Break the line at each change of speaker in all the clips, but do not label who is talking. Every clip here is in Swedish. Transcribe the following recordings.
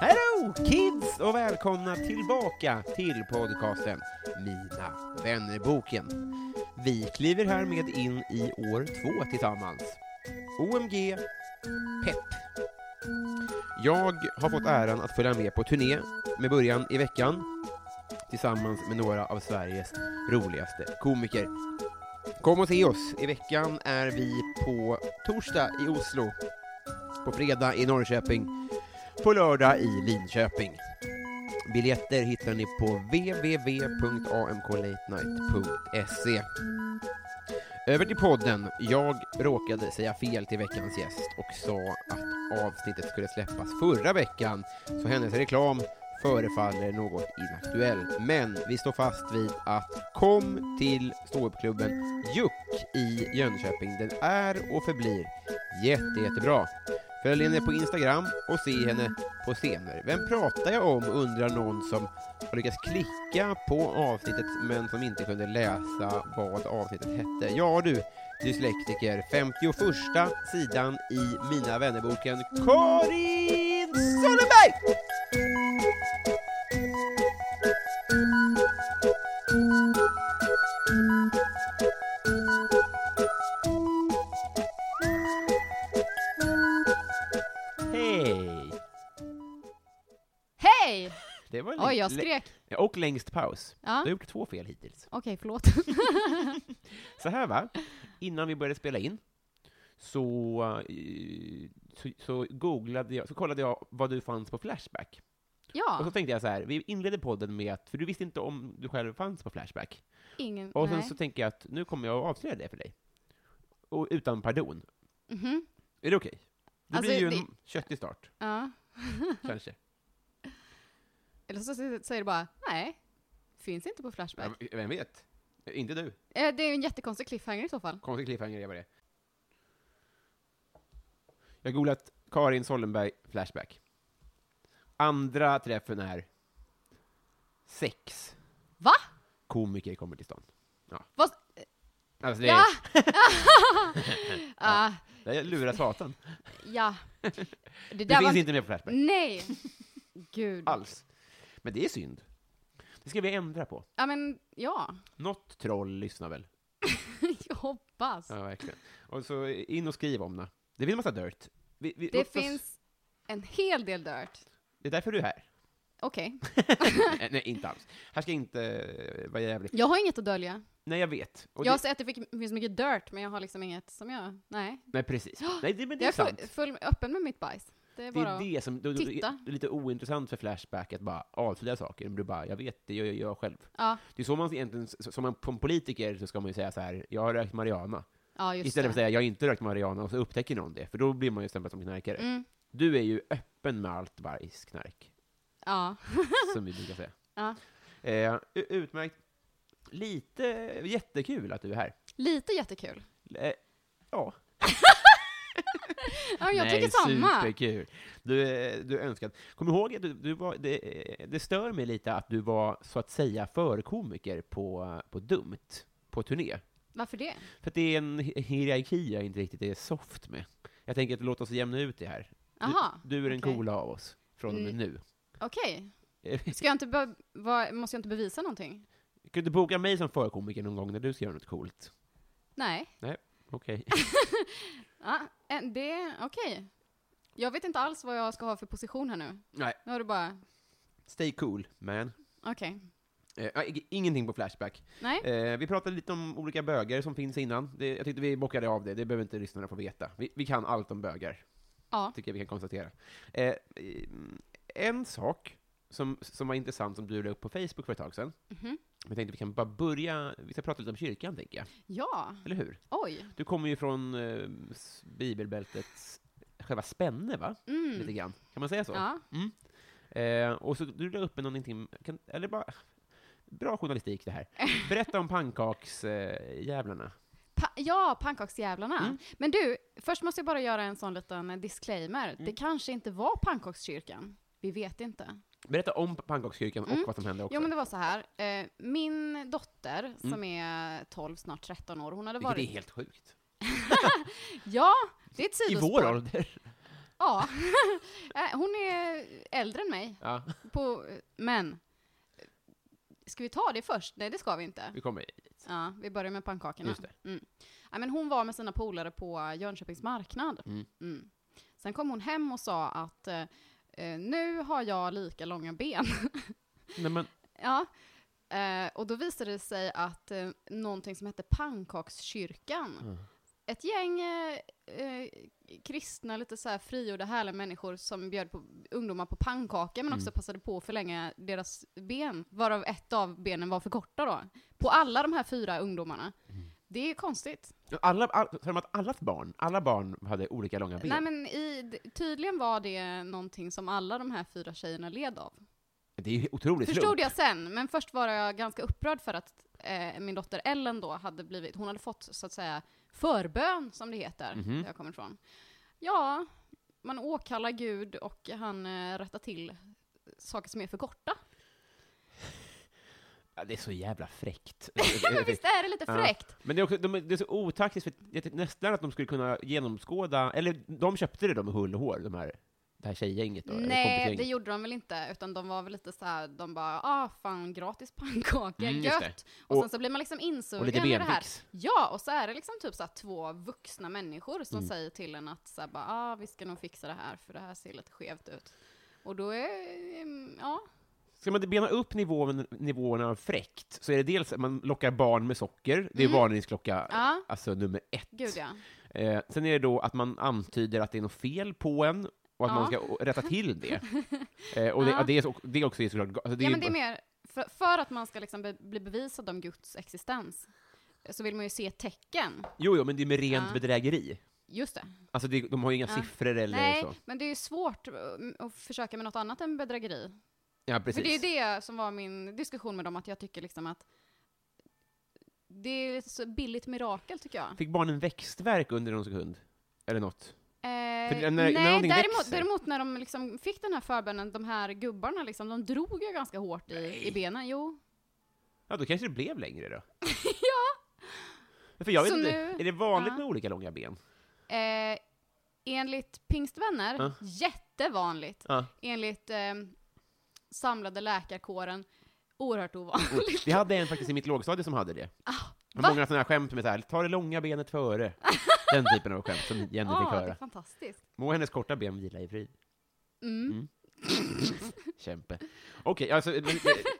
Hello kids och välkomna tillbaka till podcasten Mina vännerboken. Vi kliver härmed in i år två tillsammans. OMG, pepp. Jag har fått äran att följa med på turné med början i veckan tillsammans med några av Sveriges roligaste komiker. Kom och se oss! I veckan är vi på torsdag i Oslo, på fredag i Norrköping på lördag i Linköping. Biljetter hittar ni på www.amklatenight.se. Över till podden. Jag råkade säga fel till veckans gäst och sa att avsnittet skulle släppas förra veckan, så hennes reklam förefaller något inaktuell. Men vi står fast vid att kom till ståuppklubben Juck i Jönköping. Den är och förblir jätte, jättebra. Följ henne på Instagram och se henne på scener. Vem pratar jag om, undrar någon som har lyckats klicka på avsnittet men som inte kunde läsa vad avsnittet hette. Ja du, dyslektiker, 51 sidan i Mina vännerboken Karin Sonnenberg! Hej!
Hej!
Det var en
Oj,
lite-
jag skrek.
Ja, Och längst paus.
Ja.
Du har gjort två fel hittills.
Okej, förlåt.
Så här va, innan vi började spela in så, eh, så, så googlade jag, så kollade jag vad du fanns på Flashback. Och så
ja,
tänkte jag så här, vi inledde podden med att, för du visste inte om du själv fanns på Flashback.
ingen...
Och sen
nej.
så tänker jag att nu kommer jag att avslöja det för dig. Och utan pardon.
Mhm,
Är det okej? Det
Alltså,
blir ju en
det-
köttig start,
ja.
kanske.
Eller så säger du bara, nej, finns inte på Flashback.
Ja, Vem vet? Inte du.
Eh, Det är ju en jättekonstig cliffhanger i så fall.
Konstig cliffhanger är vad det är. Jag har googlat Karin Sollenberg Flashback. Andra träffen är sex
Va?
komiker kommer till stånd.
Vad?
Alltså det är,
Ja! Ah,
det är lura satan.
ja. Det
Det
där
finns
var... Mm.
inte med på Flashback
Nej! Gud.
alls. Men det är synd. Det ska vi ändra på.
Ja, men ja.
Något troll lyssnar väl?
Jag hoppas.
Ja, verkligen. Och så in och skriv om det. Det finns massa dirt. Vi, vi,
Det
låt oss-
finns en hel del dirt.
Det är därför du är här.
Okej.
Nej, nej, inte alls. Här ska jag inte eh, vara jävligt.
Jag har inget att dölja.
Nej, jag vet. Och
jag
det-
har sett att det fick- finns mycket dirt, men jag har liksom inget som jag... Nej.
Nej, precis. Nej, det, men det är
Jag är
sant.
full, full öppen med mitt bajs. Det är
Det
bara
är det som då, då,
titta.
det är lite ointressant för Flashback att bara avslöja saker. Men du bara, jag vet, det gör jag själv.
Ja,
Det är så man egentligen, som man, som politiker så ska man ju säga så här, jag har rökt marijuana.
ja just
Istället för
det.
att säga, jag har inte rökt marijuana, och så upptäcker någon det. För då blir man ju stämplad som knarkare.
Mm,
Du är ju öppen med allt bajs, knark,
ja.
som vi brukar säga.
Ja.
Eh, u- utmärkt. Lite jättekul att du är här.
Lite jättekul.
Eh, ja.
Ja, jag
Nej,
tycker samma.
superkul. Du, eh, du är önskad. Kom ihåg att du, du var, det, eh, det stör mig lite att du var så att säga förkomiker på, på Dumt, på turné.
Varför det?
För att det är en hi- hierarki jag inte riktigt är soft med. Jag tänker att låt oss jämna ut det här.
Aha,
Du är den
okej.
coola av oss, från och med
Mm.
nu.
okej.
Eh,
Ska jag inte be- vad- Måste jag inte bevisa någonting?
Kan du boka mig som förkomiker någon gång när du ska göra något coolt?
Nej.
Okej.
Ja, eh, det, okej. Jag vet inte alls vad jag ska ha för position här nu.
Nej.
Nu har du bara,
Stay cool, man.
okej.
Eh, ja, ing- ingenting på Flashback.
Nej,
Eh, vi pratade lite om olika bögar som finns innan. Det, jag tyckte vi bockade av det, det behöver inte lyssnarna få veta. Vi, vi kan allt om bögar,
ja.
tycker jag vi kan konstatera. Eh, eh, en sak som, som var intressant som du la upp på Facebook för ett tag sedan,
Mhm.
jag tänkte vi kan bara börja, vi ska prata lite om kyrkan, tänker jag.
Ja,
Eller hur?
oj.
Du kommer ju från eh, s- bibelbältets själva spänne, va? Lite
Mm.
grann. Kan man säga så?
Ja,
Eh, och så du la upp en någonting, kan, eller bara, bra journalistik det här. Berätta om pannkaksjävlarna. Eh, jävlarna.
pa- ja pannkaksjävlarna.
Mm.
Men du, först måste jag bara göra en sån liten disclaimer. Det
Mm.
kanske inte var pannkakskyrkan. Vi vet inte.
Berätta om pannkakskyrkan
Mm.
och vad som hände också.
Jo men det var så här, eh, min dotter som
Mm.
är 12, snart 13 år, hon hade
Vilket
varit...
är helt sjukt.
Ja, det är ett
I
sidospår.
vår ålder.
Ja. Eh, hon är äldre än mig.
Ja,
På, men, ska vi ta det först? Nej, det ska vi inte.
vi kommer dit.
Ja, vi börjar med pannkakorna.
Just det.
Mm. Ja, men hon var med sina polare på Jönköpings marknad.
Mm.
Mm. Sen kom hon hem och sa att eh, eh, nu har jag lika långa ben.
Nej, men,
ja. Eh, och då visade det sig att eh, någonting som hette pannkakskyrkan,
Mm.
ett gäng eh, eh, kristna, lite så här frigjorda, härliga människor som bjöd på ungdomar på pannkaka men också passade på att förlänga deras ben, varav ett av benen var för korta då. På alla de här fyra ungdomarna. Det är konstigt.
alla, all, sa de att allas barn, alla barn hade olika långa ben?
Nej men i, d- tydligen var det någonting som alla de här fyra tjejerna led av.
Det är ju otroligt
Förstod
slump.
jag sen, men först var jag ganska upprörd för att eh, min dotter Ellen då hade blivit, hon hade fått så att säga förbön som det heter,
Mhm.
där jag kommer ifrån. Ja, man åkallar Gud och han eh, rättar till saker som är för korta.
Ja, det är så jävla fräckt.
Men visst är det lite
Ja.
fräckt?
Men det är, också, de, är- det är så otaktiskt, för jag tyckte nästan att de skulle kunna genomskåda, eller de köpte det då med hull och hår, de här, det här tjejgänget då, eller
Nej,
kompisgänget.
det gjorde de väl inte, utan de var väl lite så här, de bara ah fan gratis pannkakor,
Mm, just det.
gött! Och,
Och-
sen så blir man liksom
Och lite
insugen i det här.
benfix.
Ja, och så är det liksom typ så här två vuxna människor som
Mm.
säger till en att så här, bara, ah, vi ska nog fixa det här för det här ser lite skevt ut. Och då är, ehm, ja,
Ska man bena upp nivån, nivåerna av fräckt, så är det dels att man lockar barn med socker, det är
Mm.
varningsklocka
ja,
alltså nummer ett.
gud ja.
Eh, sen är det då att man antyder att det är något fel på en, och att
Ja.
man ska å- rätta till det. Eh, och det,
Ja.
ja. det, är, så- det är också är såklart... Alltså det
ja,
är,
men det är mer, för, för att man ska liksom be, bli bevisad om Guds existens, så vill man ju se tecken.
Jo, jo, men det är med rent
Ja.
bedrägeri.
Just det.
Alltså, det, de har ju inga
Ja.
siffror eller
Nej,
så.
men det är ju svårt eh, att försöka med något annat än bedrägeri.
Ja,
För
precis.
det är ju det som var min diskussion med dem, att jag tycker liksom att det är ett så billigt mirakel tycker jag.
Fick barnen växtverk under någon sekund? Eller något?
Eh,
För när- när
nej,
någonting
däremot,
växer.
däremot när de liksom fick den här förbönen, de här gubbarna liksom, de drog ju ganska hårt i, i benen. Jo.
Ja, då kanske det blev längre då. ja! För jag vet
Så
inte,
nu-
är det vanligt
ja.
med olika långa ben?
Eh, enligt pingstvänner,
Ja.
jättevanligt.
Ja.
Enligt eh, samlade läkarkåren, oerhört ovanligt.
Vi hade en faktiskt i mitt lågstadie som hade det. Det
Ah, va?
var många sådana här skämt med så här, ta det långa benet före. Den typen av skämt som Jenny fick
ah, det är
höra.
fantastiskt.
Må hennes korta ben vila i frid.
Mm.
Mm. Kämpe. Okej, alltså, men, eh,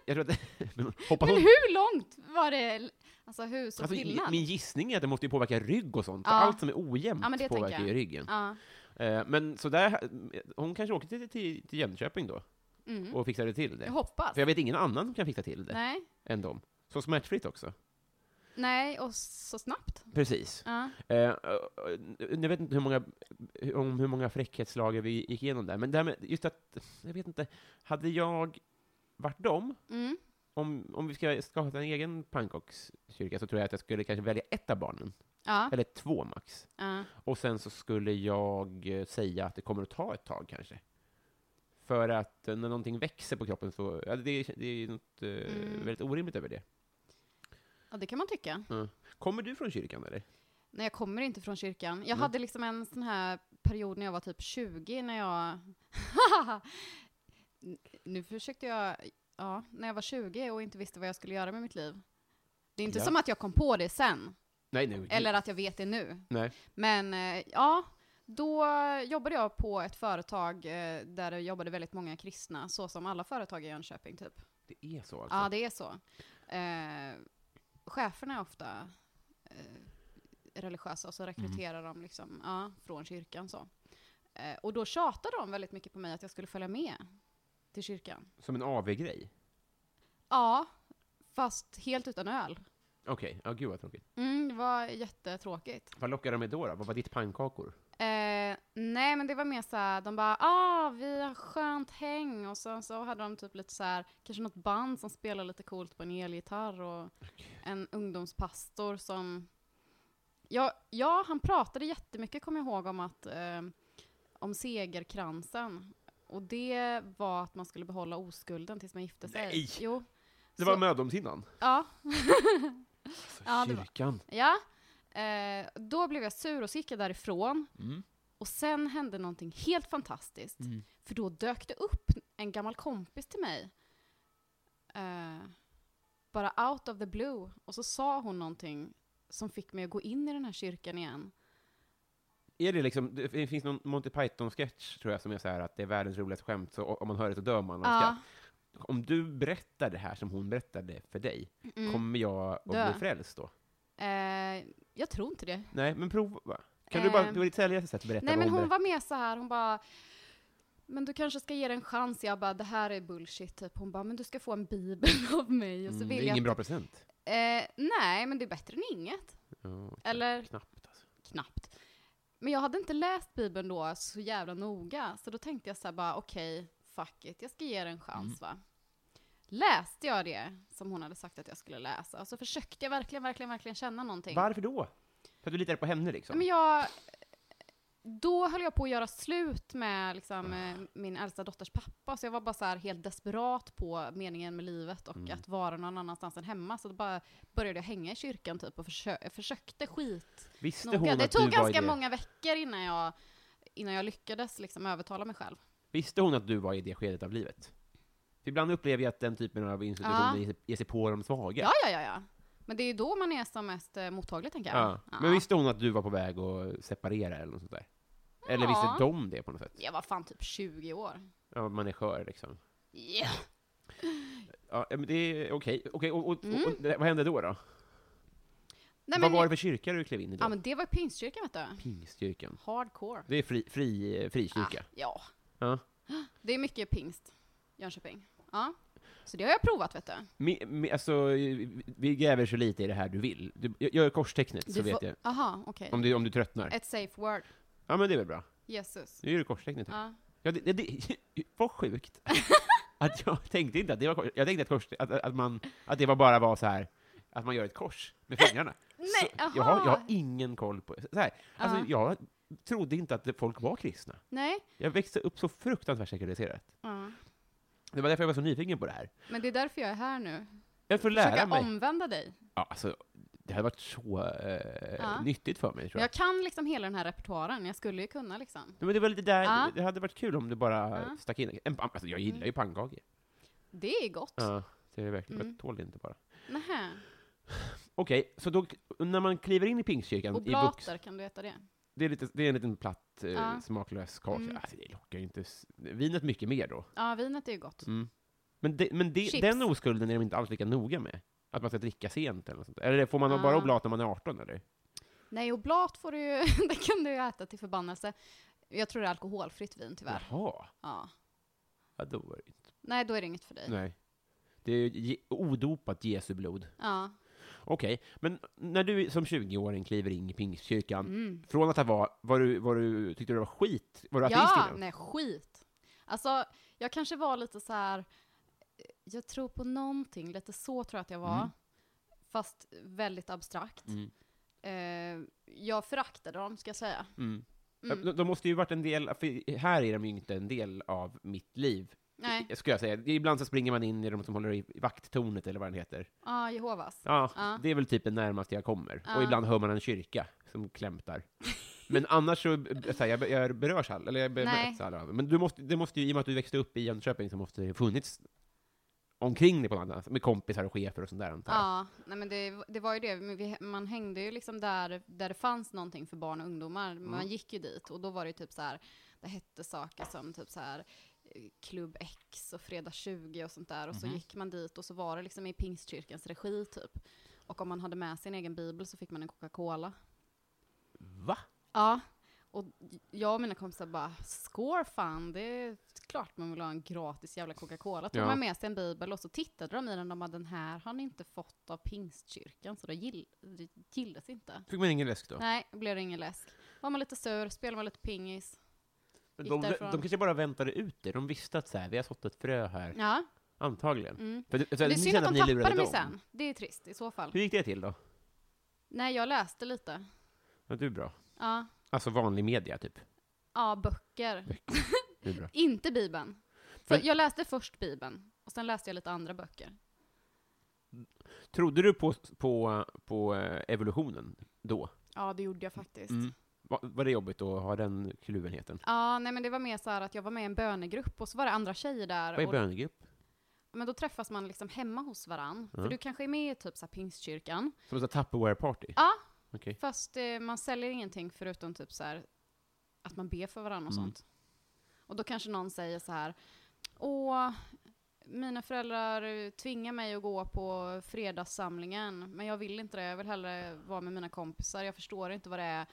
jag tror att... men, hoppas
Men
hon,
hur långt var det? Alltså hur så
alltså, i-
skillnad?
min gissning är att det måste ju påverka rygg och sånt.
Ja.
Allt som är ojämnt
Ja, men det
påverkar
tänker
ju
jag.
ryggen.
Ja.
Eh, Men så där, hon kanske åkte till, till, till Jönköping då
Mm.
och fixade till
Jag
det.
hoppas.
För jag vet ingen annan som kan fixa till det
Nej.
än dem. Så smärtfritt också.
Nej, och så snabbt.
Precis.
Ja.
Eh, eh, jag vet inte hur många, om hur många fräckhetslager vi gick igenom där, men det här med, just att, jag vet inte, hade jag varit dem,
Mm.
om, om vi ska skapa en egen pannkakskyrka, så tror jag att jag skulle kanske välja ett av barnen,
Ja.
eller två max.
ja.
Och sen så skulle jag eh, säga att det kommer att ta ett tag kanske. För att eh, när någonting växer på kroppen så, ja, det, är- det är ju något eh,
Mm.
väldigt orimligt över det.
Ja, det kan man tycka.
Kommer du från kyrkan eller?
Nej, jag kommer inte från kyrkan. Jag
Mm.
hade liksom en sån här period när jag var typ 20, när jag... N- nu försökte jag... Ja, när jag var 20 och inte visste vad jag skulle göra med mitt liv. Det är inte
Ja.
som att jag kom på det sen.
Nej, nej.
Eller att jag vet det nu.
Nej.
Men eh, ja, då jobbade jag på ett företag eh, där det jobbade väldigt många kristna, så som alla företag i Jönköping typ.
Det är så alltså?
Ja, det är så. Eh, cheferna är ofta eh, religiösa och så rekryterar de liksom, ja, från kyrkan så. Eh, och då tjatade de väldigt mycket på mig att jag skulle följa med till kyrkan.
Som en AV-grej?
Ja, fast helt utan öl.
Okej, ja gud vad tråkigt.
Mm, det var jättetråkigt.
Vad lockade de med då? då? Vad var ditt pannkakor?
Eh, nej, men det var mer såhär, de bara ah, vi har skönt häng och sen så hade de typ lite såhär, kanske något band som spelar lite coolt på en elgitarr och en ungdomspastor som, ja, ja han pratade jättemycket kommer jag ihåg om att, eh, om segerkransen. Och det var att man skulle behålla oskulden tills man gifte sig.
Nej!
Jo.
Det
Så-
var mödomshinnan?
Ja.
Alltså,
Ja, det var-
kyrkan.
ja. Eh, då blev jag sur och så gick jag därifrån.
Mm.
Och sen hände någonting helt fantastiskt.
Mm.
För då dök det upp en gammal kompis till mig. Eh, bara out of the blue. Och så sa hon någonting som fick mig att gå in i den här kyrkan igen.
Är det liksom, det finns någon Monty Python-sketch tror jag som är så här att det är världens roligaste skämt, så om man hör det så dör man. av
Ja,
skratt. Om du berättar det här som hon berättade för dig,
mm.
kommer jag att
Dö.
bli frälst då?
eh, jag tror inte det.
Nej, men prova. Kan du bara,
Eh,
på ditt säljaste sätt berätta
Nej
vad
men
hon
hon
berättade?
var med så här, hon bara men du kanske ska ge det en chans. Jag bara, det här är bullshit. Typ. Hon bara, men du ska få en bibel av mig. Och så
Mm,
vill
det är ingen
jag...
bra present.
Eh, nej, men det är bättre än inget.
Ja,
Eller
knappt alltså.
knappt. Men jag hade inte läst Bibeln då så jävla noga, så då tänkte jag så här bara okej, fuck it, jag ska ge det en chans va. Läste jag det som hon hade sagt att jag skulle läsa, så försökte jag verkligen, verkligen, verligen känna någonting.
Varför då? För att du litar på henne liksom?
Men jag, då höll jag på att göra slut med liksom,
Ah.
eh, min äldsta dotters pappa, så jag var bara så här helt desperat på meningen med livet och
Mm.
att vara någon annanstans än hemma, så då bara började jag hänga i kyrkan typ och försö- försökte skit
Visste
noga.
hon
Det
att du
tog
var i
ganska
det?
många veckor innan jag, innan jag lyckades liksom övertala mig själv.
Visste hon att du var i det skedet av livet? För ibland upplever jag att den typen av institutioner
Ja.
ger sig- ger sig på de svaga.
Ja, ja, ja, ja. Men det är ju då man är som mest eh, mottaglig, tänker jag.
Ja. Men visste hon att du var på väg att separera eller något sånt där? Eller
Ja.
visste de det på något sätt?
Jag var fan typ 20 år.
Ja, man är skör liksom.
Yeah.
Ja, men det är okej. Okej, och, och,
Mm.
och, det- vad hände då? då? vad
Nej, men,
var det för kyrka du klev in i då?
ja, men det var ju pingstkyrkan, vet du.
Pingstkyrkan.
Hardcore.
Det är fri, fri, eh, frikyrka.
Ah, ja.
Ja.
Det är mycket pingst, Jönköping. Ja. Så det har jag provat, vet du.
Mi, mi, alltså, vi gräver så lite i det här du vill. Du, jag gör korstecknet så
Du
vet
får-
jag.
Aha, okej.
Om du, om du tröttnar.
Ett safe word.
Ja, men det är väl bra.
Jesus.
Nu gör du korstecknet.
Ja.
Ja, det, det, det var sjukt. Att jag tänkte inte att det var kors. Jag tänkte att, kors, att, att, man, att det var bara var så här att man gör ett kors med fingrarna.
Nej,
så, jag, har,
aha.
jag har ingen koll på så här. Alltså,
Ja.
Jag trodde inte att folk var kristna.
Nej.
Jag växte upp så fruktansvärt sekulariserat.
Ja.
Det var därför jag var så nyfiken på det här.
Men det är därför jag är här nu.
Jag får lära
Försöka
mig.
omvända dig.
Ja, alltså, det hade varit så eh,
Ja.
nyttigt för mig, tror jag.
Jag kan liksom hela den här repertoaren, jag skulle ju kunna liksom.
Nej, Men det var lite där,
Ja.
det hade varit kul om du bara
Ja.
stack in en, pan- alltså, jag gillar ju pannkakor.
Det är gott.
Ja, det är verkligen,
Mm.
jag tål det inte bara.
Nähä.
Okej, så då, när man kliver in i pingstkyrkan, i vux,
Oblater, kan du äta det?
det, är lite, det är en liten platt, eh,
Ja.
smaklös kaka.
Mm.
Alltså, det lockar ju inte s- vinet mycket mer då.
Ja, vinet är ju gott.
Mm. Men, det, men det,
Chips.
den oskulden är de inte alls lika noga med. Att man ska dricka sent eller något sånt. Eller får man
Ja.
bara oblat när man är 18 eller?
Nej, oblat får du ju, det kan du ju äta till förbannelse. Jag tror det är alkoholfritt vin tyvärr.
Jaha.
Ja.
Ja, då var det inte.
Nej, då är det inget för dig.
Nej. Det är ju Je- odopat Jesu blod.
Ja.
Okej, men när du som 20-åring kliver in i pingstkyrkan,
Mm.
från att ha var, var du, var du, tyckte du det var skit, var du ateist
Ja,
innan?
nej skit. Alltså, jag kanske var lite så här. eh, jag tror på någonting, lite så tror jag att jag var.
Mm.
Fast väldigt abstrakt.
Mm.
Eh, jag föraktade dem, ska jag säga.
Mm.
Mm.
De, de måste ju varit en del, för här är de ju inte en del av mitt liv,
Nej,
I- skulle jag säga. Ibland så springer man in i de som håller i vakttornet, eller vad den heter.
ja, Jehovas.
Ja,
Ja.
det är väl typ det närmaste jag kommer.
Ja.
Och ibland hör man en kyrka som klämtar. Men annars så, b- så här, jag, jag berörs aldrig, eller jag
Nej.
bemöts aldrig av det. Men du måste, det måste ju, i och med att du växte upp i Jönköping, så måste det ju funnits omkring dig på något annat, med kompisar och chefer och sånt där antar jag.
Ja, nej men det, det var ju det. Men Vi, man hängde ju liksom där, där det fanns någonting för barn och ungdomar.
Mm.
Man gick ju dit och då var det ju typ så här, det hette saker som typ så här eh, Klubb X och Fredag 20 och sånt där. Och
Mhm.
så gick man dit och så var det liksom i Pingstkyrkans regi typ. Och om man hade med sig en egen bibel så fick man en Coca-Cola.
Va?
Ja, och jag och mina kompisar bara, skår fan, det är klart man vill ha en gratis jävla Coca-Cola. Tog
Ja.
man med sig en bibel och så tittade de i den och de bara, den här har ni inte fått av pingstkyrkan, så det, gill det gillas inte.
Fick man ingen läsk då?
Nej, blev det ingen läsk. Var man lite sur, spelade man lite pingis.
Men
gick
de,
därifrån.
de kanske bara väntade ut det. De visste att så här, vi har sått ett frö här.
Ja,
Antagligen.
mm.
För, det- så,
Det är
ni
synd
kände
att de
ni lurade
tappade mig
dem.
sen. Det är trist i så fall.
Hur gick det till då?
Nej, jag läste lite.
Ja, du är bra.
Ja,
Alltså vanlig media, typ.
ja böcker.
Du är bra.
Inte Bibeln. Så
Men-
jag läste först Bibeln, och sen läste jag lite andra böcker.
Trodde du på, på, på eh, evolutionen då?
Ja, det gjorde jag faktiskt.
Va- Var det jobbigt att ha den kluvenheten?
Ja, nej men det var mer så här att jag var med i en bönegrupp och så var det andra tjejer där.
Vad är
och,
bönegrupp?
men då träffas man liksom hemma hos varann. För
Ja.
du kanske är med i typ så här pingstkyrkan.
Som ett Tupperware-party?
Ja.
Okej.
Fast eh, man säljer ingenting förutom typ så här att man ber för varann och
Mm.
sånt. Och då kanske någon säger så här, åh, mina föräldrar eh, tvingar mig att gå på fredagssamlingen, men jag vill inte det, jag vill hellre vara med mina kompisar, jag förstår inte vad det är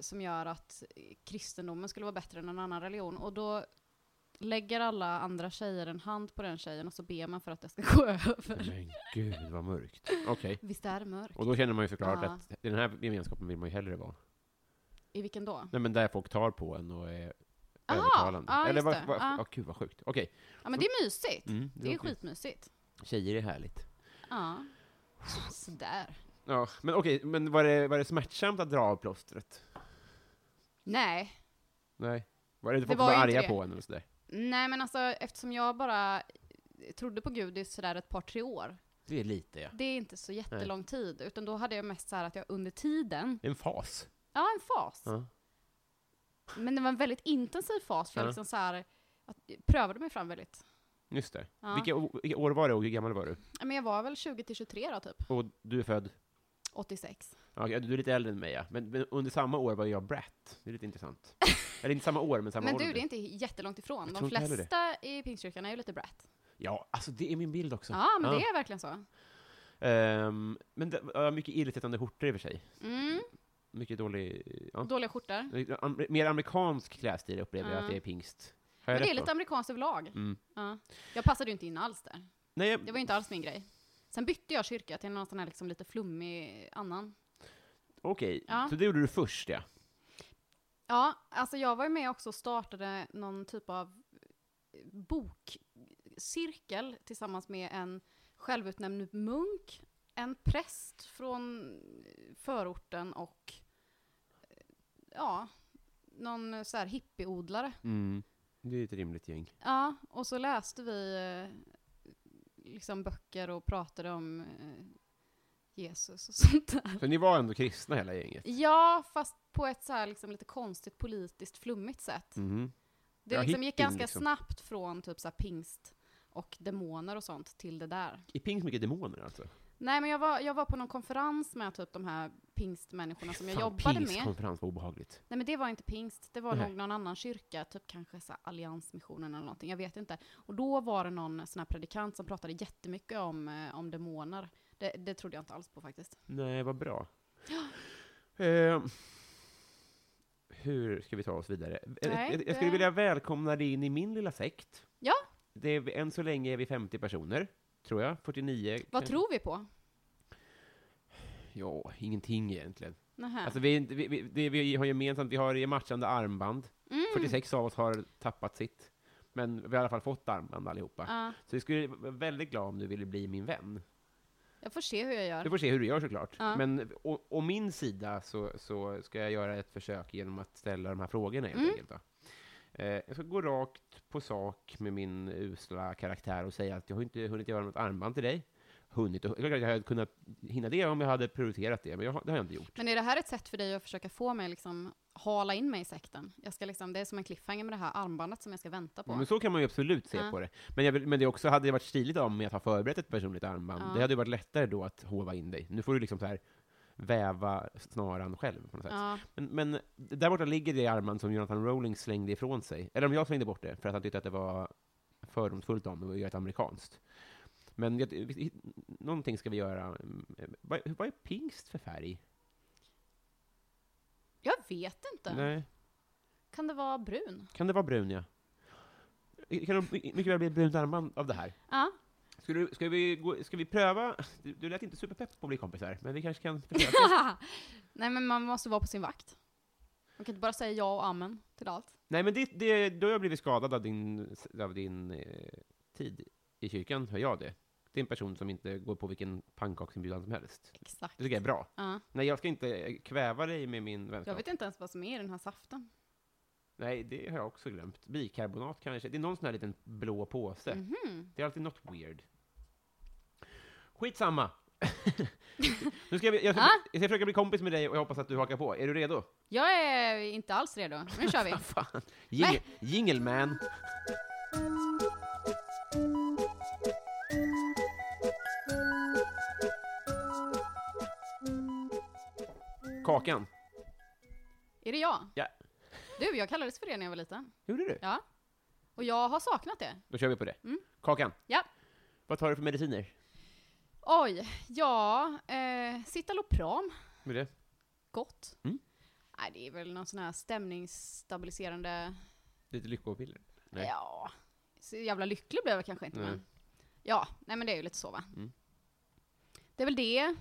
som gör att eh, kristendomen skulle vara bättre än en annan religion. Och då lägger alla andra tjejer en hand på den tjejen och så ber man för att det ska gå över.
Men gud, vad mörkt. Okej.
Visst är det mörkt?
Och då känner man ju såklart
Ja.
att i den här gemenskapen vill man ju hellre vara.
I vilken då?
Nej, men där folk tar på en och är
Aha,
övertalande.
ja,
Eller
just
vad,
det.
vad,
Ja.
ja, gud vad sjukt. Okej.
Ja men det är mysigt.
Mm,
Det är
låter-
skitmysigt.
Tjejer är härligt.
Ja. Sådär.
Ja, men okej, men var det, var det smärtsamt att dra av plåstret?
Nej.
Nej. Var det inte
Det
folk
var
som var
ju inte
arga
det.
på en eller sådär?
Nej men alltså eftersom jag bara trodde på Gud i sådär ett par tre år.
Det är lite, ja.
Det är inte så jättelång tid. Utan då hade jag mest så här att jag under tiden,
En fas.
ja en fas.
Ja.
Men det var en väldigt intensiv fas för jag
Ja.
liksom så här, att, prövade mig fram väldigt.
Just det.
Ja.
Vilka, o- vilka år var det och hur gammal var du?
Ja, Men jag var väl 20 till 23 då typ,
Och du är född?
86.
Ja, okej, du är lite äldre än mig, ja. men, men under samma år var jag brat. Det är lite intressant. Eller inte samma år, men samma
Men
år.
du,
under.
det är inte jättelångt ifrån.
Jag
De
tror inte heller
flesta i pingstkyrkan är ju lite brat.
Ja, alltså det är min bild också.
Ja, men det är verkligen så.
Ehm, men det, ja, mycket illasittande skjortor i och för sig.
Mm.
Mycket dålig... Ja.
Dåliga skjortor.
Am- Mer amerikansk klädstil upplever jag
Ja.
att det är pingst. Har jag
Men det är
rätt då?
lite amerikanskt överlag.
Mm.
Ja. Jag passade ju inte in alls där.
Nej, jag-
Det var ju inte alls min grej. Sen bytte jag kyrka till någon sån här liksom lite flummig annan.
Okej,
Ja.
så det gjorde du först ja.
Ja, alltså jag var ju med också och startade någon typ av bokcirkel tillsammans med en självutnämnd munk, en präst från förorten och eh, ja, någon så här hippieodlare.
Mm. Det är ett rimligt gäng.
Ja, och så läste vi eh, liksom böcker och pratade om eh, Jesus och sånt där.
Så ni var ändå kristna hela gänget?
Ja, fast på ett så här liksom lite konstigt politiskt flummigt sätt.
Mhm.
Det
Ja,
liksom gick
hippien,
ganska
liksom.
snabbt från typ så här pingst och demoner och sånt till det där.
I pingst mycket demoner alltså?
Nej, men jag var, jag var på någon konferens med typ de här pingstmänniskorna som jag
Fan,
jobbade med.
Pingstkonferens, vad obehagligt.
Nej, men det var inte pingst. Det var
Nej.
nog någon annan kyrka, typ kanske så här Alliansmissionen eller någonting. Jag vet inte. Och då var det någon sån här predikant som pratade jättemycket om, eh, om demoner. Det, det trodde jag inte alls på faktiskt.
Nej, vad bra. Ehm, hur ska vi ta oss vidare? Eh, Jag-
Nej,
jag, jag
det-
skulle vilja välkomna dig in i min lilla sekt.
Ja.
Det är, än så länge är vi 50 personer, tror jag. 49.
Vad
kan-
tror vi på?
Ja, ingenting egentligen.
Nähä.
Alltså, vi, är inte- vi, vi, det vi har gemensamt, vi har matchande armband.
Mm.
46 av oss har tappat sitt. Men vi har i alla fall fått armband allihopa.
Ja,
Så jag skulle vara väldigt glad om du ville bli min vän.
jag får se hur jag
Du
gör.
får se hur du gör såklart.
Ja.
Men å, å min sida så, så ska jag göra ett försök genom att ställa de här frågorna helt
Mm.
enkelt. Då. Eh, jag ska gå rakt på sak med min usla karaktär och säga att jag har inte hunnit göra något armband till dig. Hunnit, och, jag hade kunnat hinna det om jag hade prioriterat det, men jag, har- det har jag inte gjort.
Men är det här ett sätt för dig att försöka få mig liksom hala in mig i sekten. Jag ska liksom, det är som en cliffhanger med det här armbandet som jag ska vänta på.
Men så kan man ju absolut se
Ja.
på det. Men, jag, vill- men det också hade det varit stiligt av mig att ha förberett ett personligt armband.
Ja.
Det hade ju varit lättare då att hova in dig. Nu får du liksom så här väva snaran själv på något sätt.
ja,
Men, men där borta ligger det armband som Jonathan Rowling slängde ifrån sig. Eller om jag slängde bort det, för att han tyckte att det var fördomsfullt av mig att göra ett amerikanskt. Men jag, vi- någonting ska vi göra. Mm, Vad, vad är pingst för färg?
jag vet inte.
Nej.
Kan det vara brun?
Kan det vara brun, ja? Kan det mycket väl bli ett brunt armband av det här?
Ja.
Ska, du, ska, vi, gå, ska vi pröva? Du, du lät inte superpepp på att bli kompisar, men vi kanske kan försöka.
Nej men man måste vara på sin vakt. Man kan inte bara säga ja och amen till allt.
Nej, men det, det, då har jag blivit skadad av din, av din eh, tid i kyrkan, hör jag det. Det är en person som inte går på vilken pannkaksinbjudan som helst.
Exakt.
Det tycker jag är bra.
Ja.
Nej, jag ska inte eh, kväva dig med min
Jag
vänskap.
vet inte ens vad som är i den här saften.
Nej, det har jag också glömt. Bikarbonat kanske. Det är någon sån här liten blå påse.
Mhm.
Det är alltid något weird. Skitsamma! nu ska jag, bli- jag, ska,
Ah?
jag ska försöka bli kompis med dig och jag hoppas att du hakar på. Är du redo?
Jag är inte alls redo. Nu kör vi.
Fan. Jingle, jingle man! Kakan.
Är det jag?
Ja.
Du, jag kallades för det när jag var liten.
Gjorde du?
Ja. Och jag har saknat det.
Då kör vi på det.
Mm.
Kakan.
Ja.
Vad tar du för mediciner?
Oj, ja, eh, Citalopram,
Med det?
gott.
Mm.
Nej, det är väl någon sån här stämningsstabiliserande,
Lite lyckopiller. Nej.
ja, så jävla lycklig blev jag kanske inte
Nej.
men. Ja, nej men det är ju lite så va.
Mm.
Det är väl det.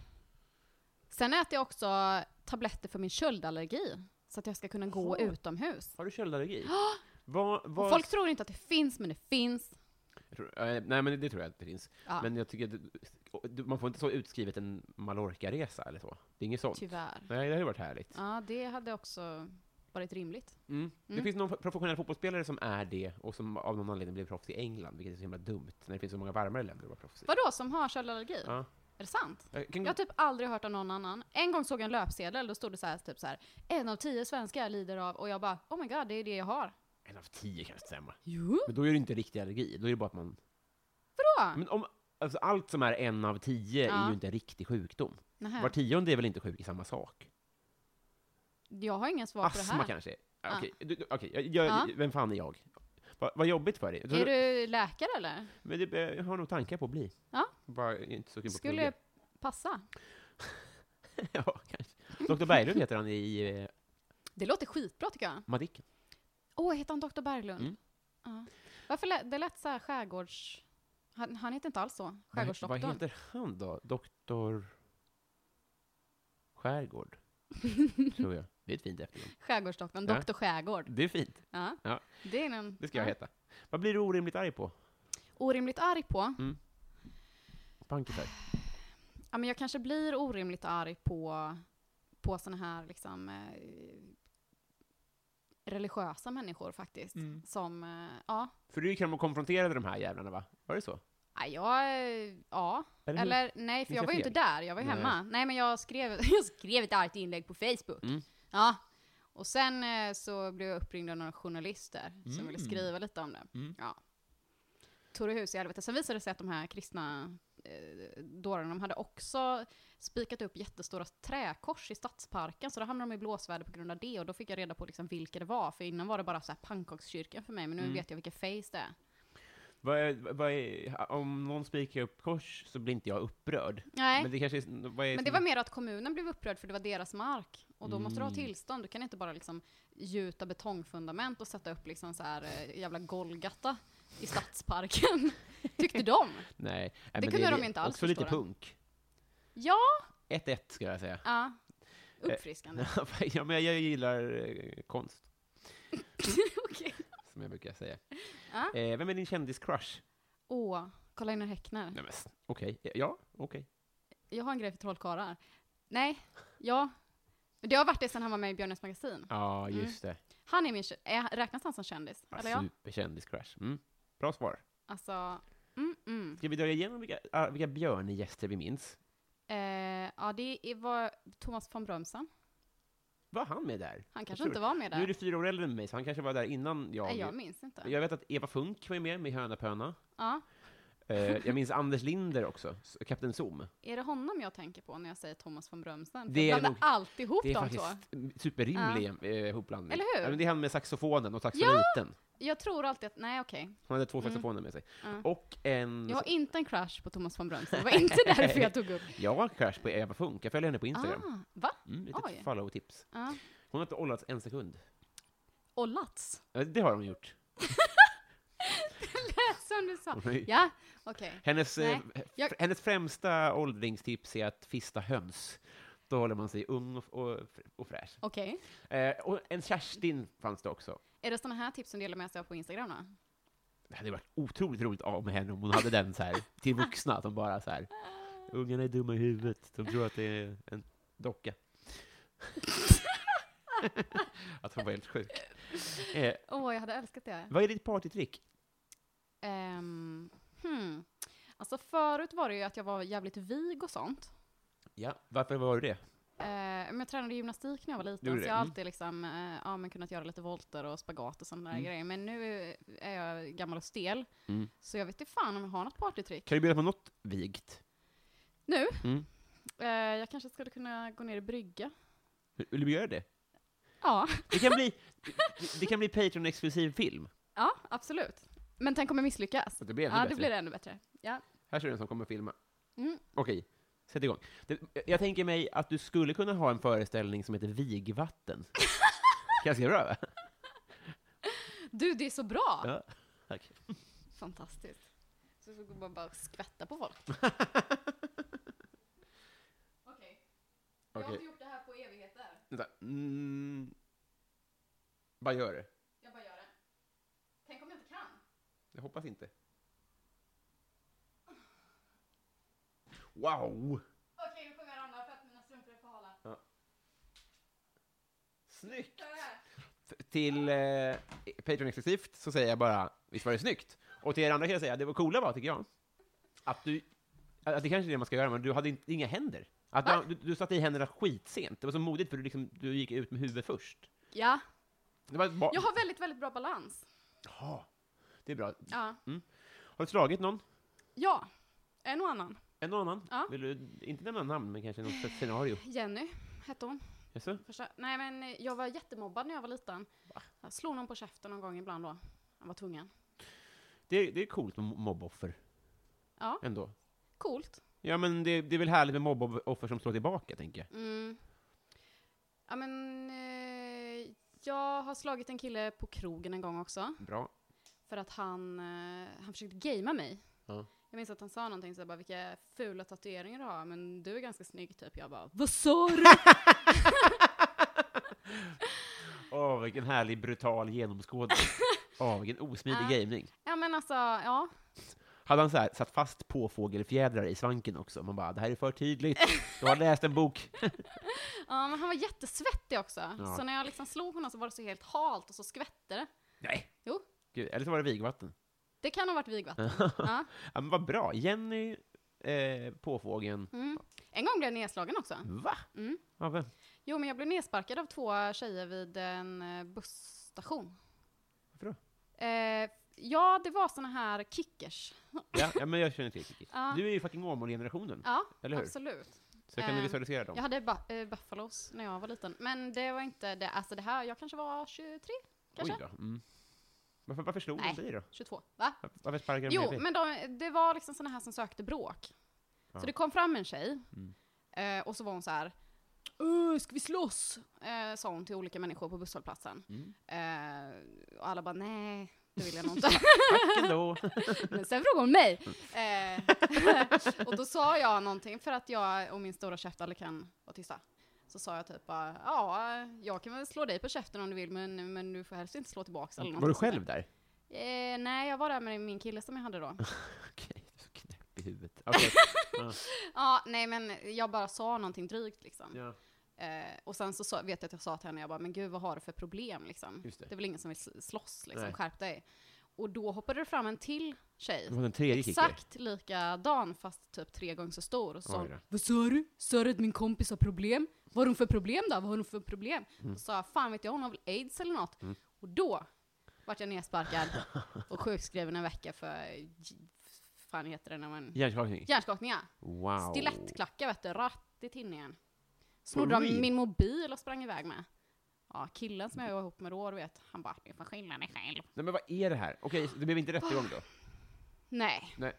Sen äter jag också tabletter för min köldallergi, så att jag ska kunna gå
Jaha.
utomhus.
Har du köldallergi? Vad,
Och
vad...
folk tror inte att det finns, men det finns.
Jag tror- eh, nej, men det tror jag att det finns.
Ja,
Men jag tycker att och du- man får inte så utskrivet en Mallorca-resa eller så. Det är inget sånt.
tyvärr.
Nej, det hade varit härligt.
Ja, det hade också varit rimligt.
Mm. Det
Mm.
finns någon professionell fotbollsspelare som är det och som av någon anledning blev proffs i England, vilket är så himla dumt när det finns så många varmare länder att vara proffs i.
Vadå, som har köldallergi?
Ja.
Är det sant?
Jag Kan,
Jag har typ aldrig hört av någon annan. En gång såg jag en löpsedel, då stod det så här, typ så här, en av tio svenskar lider av, och jag bara, oh my god, det är det jag har.
En av tio kanske stämmer.
Jo.
Men då är det inte riktig allergi, då är det bara att man...
Vadå?
Men om, alltså allt som är en av tio är
Ja.
ju inte en riktig sjukdom.
Nähä.
Var tionde är väl inte sjuk i samma sak?
Jag har ingen svar på det
Astma
här.
kanske? Ja,
Ja.
Okej, du- du- okej, jag- jag-
Ja.
vem fan är jag? Vad vad jobbigt för dig.
Är du läkare eller?
Men det, jag har nog tankar på att bli.
Ja.
Bara inte så kul på att
Skulle
plugga.
passa.
Ja, kanske. Dr. Berglund heter han i eh,
Det låter skitbra tycker jag.
Madicken.
Åh, heter han Dr. Berglund?
Mm.
Ja. Varför lät, det lät så här skärgårds... Han, han heter inte alls så,
Vad, vad
skärgårdsdoktorn.
heter han då? Doktor... Skärgård? Tror jag. Det är ett fint efternamn.
Skärgårdsdoktorn,
Ja.
Dr. Skärgård.
Det är fint.
Ja.
Ja.
Det är en,
Det ska jag
ja.
heta. Vad blir du orimligt arg på?
Orimligt arg på.
Pankisar?
Ja, men jag kanske blir orimligt arg på, på såna här liksom, eh, religiösa människor faktiskt. Som, eh, ja.
För du gick hem och konfronterade de här jävlarna, va? Var det så?
Ja, jag, eh, ja.
Eller hur?
Eller nej, för
Minns
jag
jag
var ju
fel?
inte där, jag var ju
Nej.
hemma. Nej, men jag skrev, jag skrev ett argt inlägg på Facebook.
Mm.
Ja. Och sen eh, så blev jag uppringd av några journalister som ville
Mm.
skriva lite om det.
Mm.
Ja. Tore hus i helvete. Sen visade det sig att de här kristna eh, dårarna, de hade också spikat upp jättestora träkors i stadsparken, så då hamnade de i blåsväder på grund av det, och då fick jag reda på liksom vilka det var, för innan var det bara så här pannkakskyrkan för mig, men nu
Mm.
vet jag vilka face det är.
Vad är, vad är, om någon spikar upp kors så blir inte jag upprörd.
Nej.
Men det kanske är... Vad är
Men det var mer att kommunen blev upprörd för det var deras mark. Och då måste du ha
Mm.
tillstånd. Du kan inte bara liksom gjuta betongfundament och sätta upp liksom så här eh, jävla Golgata i stadsparken. Tyckte de.
Nej. Nej, men
kunde
är
de inte alls
Också lite
förstå det.
punk.
Ja,
1-1 skulle jag säga.
ja. Uppfriskande.
ja, men jag gillar eh, konst,
Okej.
som jag brukar säga.
Ja.
Eh, vem är din kändis-crush?
Åh, kolla in Häckner.
Nej, men s- Okej. Ja, okej.
Jag har en grej för trollkarlar. Nej, ja. Men Det har varit det sen han var med i Björnes magasin.
Ja,
Mm.
just det.
Han är min, kä- är, räknas han som kändis? Eller ja?
Superkändis-crush. Mm. Bra svar.
Alltså, mm, mm.
Ska vi dra igenom vilka, ah, vilka björngäster vi minns?
Eh, ja, det är- var Thomas von Brömsen.
Var han med där?
Han kanske
tror
inte var med
Nu är du
där.
fyra år äldre än mig, så han kanske var där innan jag.
Nej, jag minns inte.
jag vet att Eva Funk var ju med med Höna Pöna.
Ja.
Eh, jag minns Anders Linder också, s- Kapten Zoom.
Är det honom jag tänker på när jag säger Thomas von Brömsen?
Det är
Det jag
nog-
blandar alltid ihop
Det är
de två.
faktiskt superrimlig eh, hopblandning.
Eller hur?
Ja, men det är han med saxofonen och saxofoniten.
Jag tror alltid att, nej okej.
Han hade två saxofoner med sig.
Mm. Ja.
Och en...
Jag har inte en crush på Thomas von Brömsen. Det var inte därför jag tog upp.
Jag har en crush på Eva Funk, jag följer henne på Instagram.
Ah, va?
Mm,
Oj.
litet follow-tips.
Ja.
Hon har inte ollats en sekund.
Och Lats,
Ja, Det har hon gjort.
som du sa.
Hon har ju-
Ah, Ja, okej.
Hennes, eh,
Nej,
f-
jag-
hennes främsta åldringstips är att fista höns. Då håller man sig ung och, och, och fräsch.
Okej.
Eh, och en Kerstin fanns det också.
Är det sådana här tips som du delar med sig av på Instagram då?
Det hade varit otroligt roligt av med henne om hon hade den så här, till vuxna, att de bara så här, ungarna är dumma i huvudet, de tror att det är en docka. att hon var helt sjuk. Eh,
Åh, jag hade älskat det.
vad är ditt partytrick?
Ehm, hmm. Alltså förut var det ju att jag var jävligt vig och sånt.
Ja, varför var du det?
Eh, men jag tränade gymnastik när jag var
Gjorde
liten,
det?
så jag har
Mm.
alltid liksom, eh, ja, men kunnat göra lite volter och spagat och sådana där
Mm.
grejer. Men nu är jag gammal och stel,
Mm.
så jag vet inte fan om jag har något partytrick.
Kan du bjuda på något vigt?
Nu?
Mm.
Eh, jag kanske skulle kunna gå ner i brygga.
Vill- Vill du göra det?
Ja,
Det kan bli, det- det kan bli Patreon-exklusiv film.
ja absolut. Men tänk om jag misslyckas?
Så det blir ännu
Ja,
bättre.
det blir det ännu bättre. Ja.
Här ser du en som kommer att filma.
Mm.
Okej, sätt igång. Det, jag tänker mig att du skulle kunna ha en föreställning som heter Vigvatten. Ganska bra, va?
Du, det är så bra!
Ja. Tack.
Fantastiskt. Så får man bara skvätta på folk. Okej, jag har
Okej,
inte gjort det här på evigheter.
vänta. Mm. Vad gör det?
Jag bara gör det. Tänk om jag inte kan?
Jag hoppas inte. Wow!
Okej, nu sjunger jag ramla för att mina strumpor är för hala.
Snyggt!
Kör det här.
F- Till eh, Patreon exklusivt så säger jag bara, visst var det snyggt? Och till er andra kan jag säga, det var coola var, tycker jag, att du, att det kanske är det man ska göra, men du hade inte, inga händer. Att
Va?
du, du satte i händerna skitsent. Det var så modigt, för du, liksom, du gick ut med huvudet först.
Ja.
Det var bara,
Jag har väldigt, väldigt bra balans.
Jaha. Det är bra.
Ja.
Har du slagit någon?
Ja. En och annan.
En och annan?
Ja.
Vill du inte nämna namn, men kanske något scenario?
Jenny hette hon.
Jaså?
Första. Nej men eh, jag var jättemobbad när jag var liten. Jag slog någon på käften någon gång ibland då. Han var tvungen.
Det, det är coolt med mobboffer.
Ja.
Ändå.
Coolt.
Ja, men det, det är väl härligt med mobboffer som slår tillbaka, tänker jag.
Mm. Ja men eh, jag har slagit en kille på krogen en gång också.
Bra.
För att han, eh, han försökte gamea mig.
Ja.
Jag minns att han sa någonting så jag bara, vilka fula tatueringar du har, men du är ganska snygg typ. Jag bara, vad sa du?
Åh, vilken härlig brutal genomskådning. Åh, vilken osmidig
Ja.
gaming.
ja men alltså, ja.
Hade han så här, satt fast påfågelfjädrar i svanken också? Man bara, det här är för tydligt. Du har läst en bok.
Ja, men han var jättesvettig också.
Ja.
Så när jag liksom slog honom så var det så helt halt och så skvätte det.
Nej.
Jo.
Gud, eller så var det vigvatten.
Det kan ha varit vigvatten. ja.
Ja, men vad bra. Jenny, eh, påfågeln.
mm. En gång blev jag nedslagen också.
Va?
Mm.
Av vem?
Jo, men jag blev nedsparkad av två tjejer vid en eh, busstation.
Varför då?
Eh, ja, det var såna här kickers.
Ja, ja, men jag känner till Kikki.
Ja. Alltså,
Du är ju fucking Åmål-generationen,
Ja,
eller hur?
absolut.
Så jag kan
Ehm,
visualisera
Jag
dem.
hade ba- eh, buffalos när jag var liten. Men det var inte det, alltså det här, jag kanske var 23, kanske?
Oj då. Mm. Varför, varför slog
Nej.
de dig då?
22, va?
Varför- Varför sparkade de
Jo,
ner dig?
men de, det var liksom såna här som sökte bråk.
Ja.
Så det kom fram en tjej,
Mm.
eh, och så var hon så här. "Åh, Ska vi slåss? Eh, sa hon till olika människor på busshållplatsen.
Mm.
Eh, och alla bara nej, det vill jag nog inte.
Tack ändå.
Men sen frågade hon mig. Eh, och då sa jag någonting för att jag och min stora käft aldrig kan vara tysta. Så sa jag typ bara, ja, jag kan väl slå dig på käften om du vill, men, men du får helst inte slå tillbaks. Eller
Var
någonting
du
sånt där."
själv där?
Eh, nej, jag var där med min kille som jag hade då.
Okej, du är så knäpp i huvudet. Okej.
Ja, nej men jag bara sa någonting drygt liksom.
Ja.
Eh, och sen så sa, vet jag att jag sa till henne, jag bara, men gud vad har du för problem liksom?
Just det.
är väl ingen som vill sl- slåss liksom,
Nej.
skärp dig. Och då hoppade det fram en till tjej,
Det var den tredje kicken.
exakt likadan fast typ tre gånger så stor. Och
Oj
sa,
då.
vad sa du? Sa du att min kompis har problem? Vad har hon för problem då? Vad har hon för problem?
Mm.
Då sa jag, fan vet jag, hon har väl aids eller något. Och då vart jag nedsparkad och sjukskriven en vecka för, fan heter det när man...
Hjärnskakning?
Hjärnskakningar.
Wow.
Stilettklackar vet du, rätt i tinningen.
For
Snodde de
real?
min mobil och sprang iväg med. Ja, killen som jag var ihop med då, du vet, han bara, du får skylla dig själv.
Nej men vad är det här? Okej, så det blev inte rättegång
Ah.
då?
Nej,
Nej.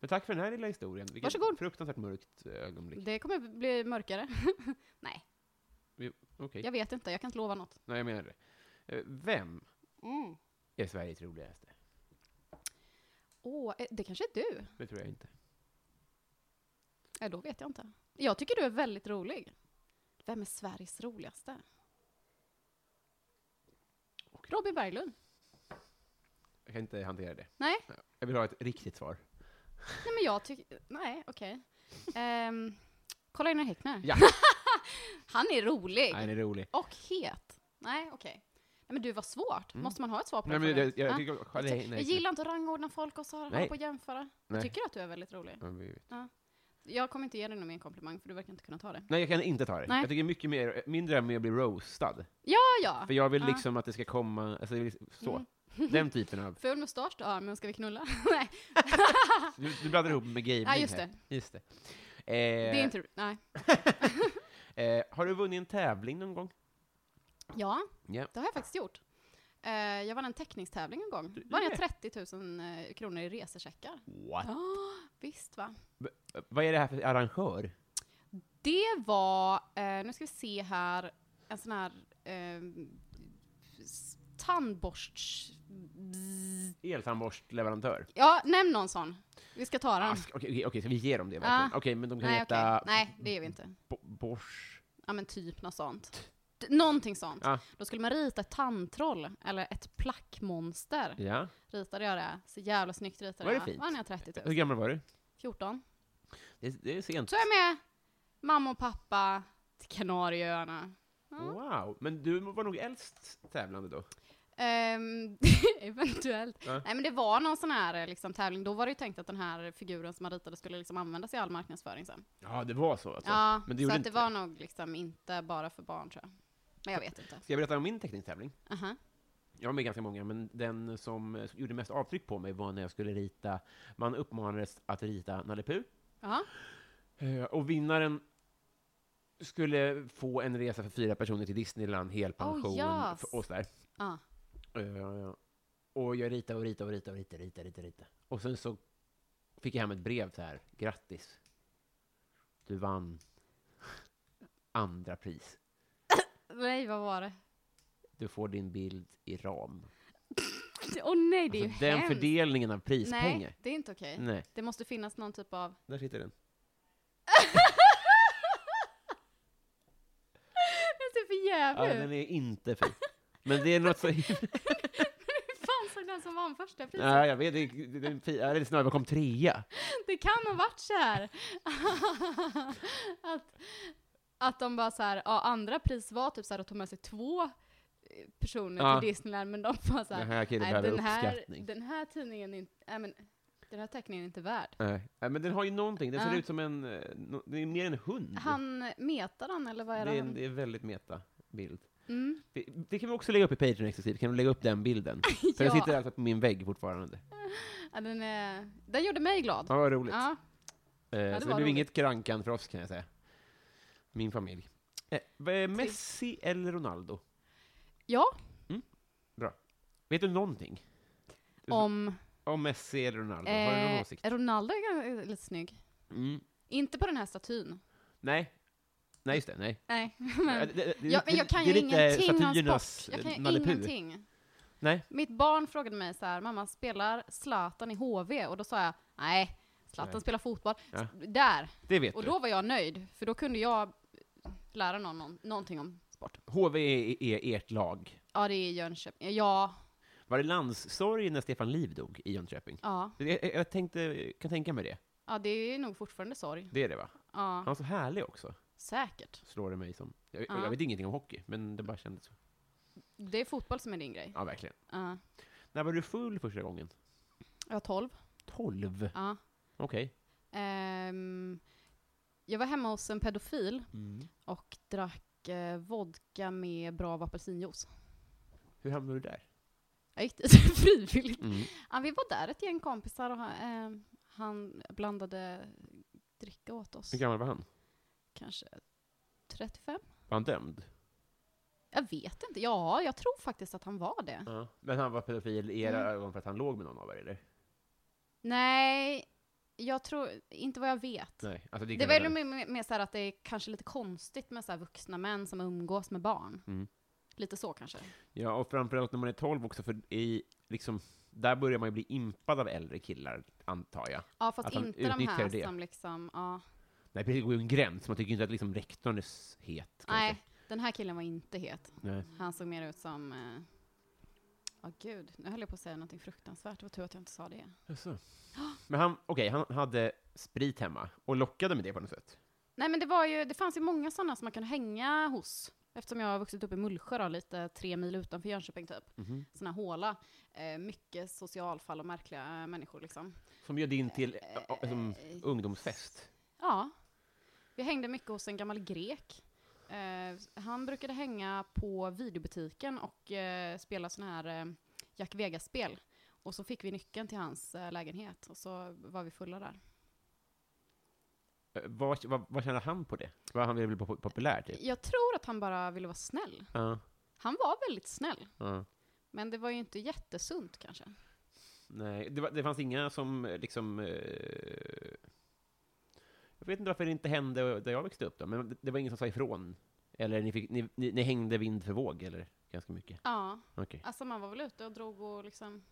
Men tack för den här lilla historien. Vilket
Varsågod.
fruktansvärt mörkt eh, ögonblick.
det kommer bli mörkare. Nej,
Okej.
jag vet inte, jag kan inte lova något.
Nej, jag menar det. Eh, Vem är Sveriges roligaste?
Åh, eh, det kanske är du?
Det tror jag inte.
Nej, då vet jag inte. Jag tycker du är väldigt rolig. Vem är Sveriges roligaste? Robin Berglund.
Jag kan inte hantera det.
Nej.
Jag vill ha ett riktigt svar.
Nej, men jag tycker... Nej, okej. Ehm, kolla in Häckner.
Ja.
Han är rolig.
Nej, den är rolig.
Och het. Nej, okej. Nej, men du, vad svårt.
Mm.
Måste man ha ett svar på
Nej, men
den
jag,
frågan?
jag,
Ja.
jag, jag, nej,
Jag tycker- jag
nej.
gillar inte att rangordna folk och så här, hålla
Nej.
på och jämföra.
Nej.
Jag tycker att du är väldigt rolig.
Ja, vi vet.
Jag kommer inte ge dig någon mer komplimang, för du verkar inte kunna ta det.
Nej, jag kan inte ta det.
Nej.
Jag tycker mycket mer, min dröm är att bli roastad.
Ja, ja!
För jag vill
Ja.
liksom att det ska komma, alltså det vill- så.
Ah. Mm.
Den typen av,
Ful mustasch då? Ja, men ska vi knulla? Nej,
du, du blandar ihop med gaming
ja, just
här.
det.
Just det. Eh,
Det är inte... Nej.
eh, har du vunnit en tävling någon gång?
Ja,
Ja.
det har jag faktiskt gjort. Eh, jag vann en teckningstävling en gång.
Du-
Vann jag
nej.
30 000 eh, kronor i resecheckar.
What?
Ja, visst va?
Vad är det här för arrangör?
Det var, eh, nu ska vi se här, en sån här eh, s- tandborst... Bzz.
Eltandborstleverantör?
Ja, nämn någon sån. Vi ska ta den.
Ah, sk- Okej, okej, okej, så vi ger dem det verkligen? Okej, men de kan
Ah. Nej,
heta
okej. Nej, det gör vi inte.
Bo- Bors...
Ja men typ något sånt. D- Någonting sånt.
Ja.
Då skulle man rita ett tandtroll, eller ett plackmonster.
Ja.
Ritade jag det, så jävla snyggt ritade
Var det
jag.
fint?
Vann jag 30
Hur
000.
gammal var du?
14.
Det, det är sent.
Så är jag med mamma och pappa till Kanarieöarna. Ja.
Wow, men du var nog äldst tävlande då?
Ehm, eventuellt.
Ja.
Nej men det var någon sån här eh, liksom, tävling, då var det ju tänkt att den här figuren som man ritade skulle liksom, användas i all marknadsföring sen.
Ja, det var så alltså.
ja,
men det
så
gjorde
att
inte
det var nog liksom inte bara för barn tror jag. Men jag vet inte.
Ska jag berätta om min teckningstävling?
Aha.
Jag var med i ganska många, men den som eh, gjorde mest avtryck på mig var när jag skulle rita, man uppmanades att rita Nalle Puh,
Ja.
eh, och vinnaren skulle få en resa för fyra personer till Disneyland, helpension
Oh, yes.
f- och sådär.
Ja.
Eh, Och jag ritade och ritade och ritade och ritade, ritade, ritade, ritade. Och sen så fick jag hem ett brev så här, grattis, du vann andra pris.
Nej, vad var det?
Du får din bild i ram.
Åh nej, det är
Alltså,
ju
den
hemskt.
fördelningen av prispengar.
Nej, det är inte okej.
Nej.
Det måste finnas någon typ av...
Där sitter den.
Det ser för
Ja,
jävligt
den
ut.
är inte fin. Men det är något så...
Hur fan såg den som vann första priset?
ja, jag vet, det, det, det, är en fi- ja, det är snarare vad kom trea.
Det kan ha varit så här. att, att de bara så här, ja, andra pris var typ så här att ta med sig två eh, personer
Ja.
till Disneyland, men de bara så här,
Den här killen
nej,
behöver
den, här,
uppskattning.
den här tidningen är inte, nej, men, den här teckningen är inte värd.
Nej. Nej, men den har ju någonting. Den ser
Ja.
ut som en... eh, no- Det är mer en hund.
Han, metar han eller vad
Mm. det, är
är det?
en,
han-
det är en väldigt meta bild.
Mm.
Det, det kan vi också lägga upp i Patreon exklusivt. Kan du lägga upp den bilden? För den
Ja.
sitter alltså på min vägg fortfarande.
Ja, den, är, den gjorde mig glad.
Ja, vad roligt.
Ja,
Eh, så
det
det
var
blev
roligt.
inget krankan för oss kan jag säga. Min familj. Eh, vad är Messi eller Ronaldo?
ja
Vet du någonting? Du-
om
Om Messi eller Ronaldo? Har du någon
eh,
åsikt?
Ronaldo är ganska- lite snygg.
Mm.
Inte på den här statyn.
Nej. Nej, just det. Nej.
Nej,
Ja,
men,
det- det- det-
ja, men jag
det- det
kan ju
är lite
ingenting om
statyernas,
sport. Jag kan
eh,
ju
Nalle Puh.
ingenting.
Nej.
Mitt barn frågade mig så här, mamma spelar Zlatan i HV? Och då sa jag, nej, Zlatan
Nej.
spelar fotboll.
Ja.
Där!
Det vet
Och då var jag nöjd, för då kunde jag lära någon, någon någonting om sport.
du. HV är, är E ert lag.
Ja, det är Jönköping. Ja,
Var det landssorg när Stefan Liv dog i Jönköping?
ja.
Jag, jag- jag tänkte, kan tänka mig det.
Ja, det är nog fortfarande sorg.
Det är det, va?
Ja,
Han var så härlig också,
säkert.
slår det mig som. Jag,
Ja.
jag vet ingenting om hockey, men det bara kändes så.
Det är fotboll som är din grej.
Ja, verkligen.
Ja.
När var du full första gången?
Jag var 12.
Tolv?
Ja.
Okej.
Ehm, Jag var hemma hos en pedofil
Mm.
och drack eh, vodka med bra apelsinjuice.
Hur hamnade du där?
Jag gick dit frivilligt.
Mm.
Ja, vi var där ett gäng kompisar och han, eh, han blandade dricka åt oss.
Hur gammal var han?
Kanske 35?
Var han dömd?
Jag vet inte. Ja, jag tror faktiskt att han var det.
Ja. Men han var pedofil i era
Mm.
ögon för att han låg med någon av er, eller?
Nej, jag tror inte vad jag vet.
Nej. Alltså,
Det
kan
var ju
vara-
mer- mer mer så här att det är kanske lite konstigt med så här vuxna män som umgås med barn.
Mm.
Lite så kanske.
Ja, och framförallt när man är 12 också, för i, liksom, där börjar man ju bli impad av äldre killar, antar jag.
Ja, fast
Att han
inte de
utnyttjar
här
det.
som liksom, ja.
Nej, precis, det går ju en gräns. Man tycker inte att liksom, rektorn är s- het. kanske.
Nej, den här killen var inte het.
Nej.
Han såg mer ut som, eh, ja gud, nu höll jag på att säga någonting fruktansvärt. Det var tur att jag inte sa det.
Jaså. Men han, okej, han hade sprit hemma och lockade med det på något sätt.
Nej men det var ju, det fanns ju många sådana som man kunde hänga hos. Eftersom jag har vuxit upp i Mullsjö då, lite tre mil utanför Jönköping typ. Sån här håla. Eh, mycket socialfall och märkliga eh, människor liksom.
Som bjöd in till ä, ä, som
Eh,
ungdomsfest.
Ja. Vi hängde mycket hos en gammal grek. Eh, han brukade hänga på videobutiken och eh, spela sån här eh, Jack Vegas-spel. Och så fick vi nyckeln till hans eh, lägenhet och så var vi fulla där.
Ä, Eh, Vad, vad, vad kände han på det? Vad han ville bli pop- populär, typ?
Jag tror att han bara ville vara snäll.
Ja,
Han var väldigt snäll,
ja.
men det var ju inte jättesunt kanske.
Nej, det, var, det fanns inga som eh, liksom... eh, jag vet inte varför det inte hände där jag växte upp då, men det, det var ingen som sa ifrån. Eller ni, fick, ni, ni, ni hängde vind för våg, eller? Ganska mycket.
Ja,
Okej.
alltså man var väl ute och drog och liksom...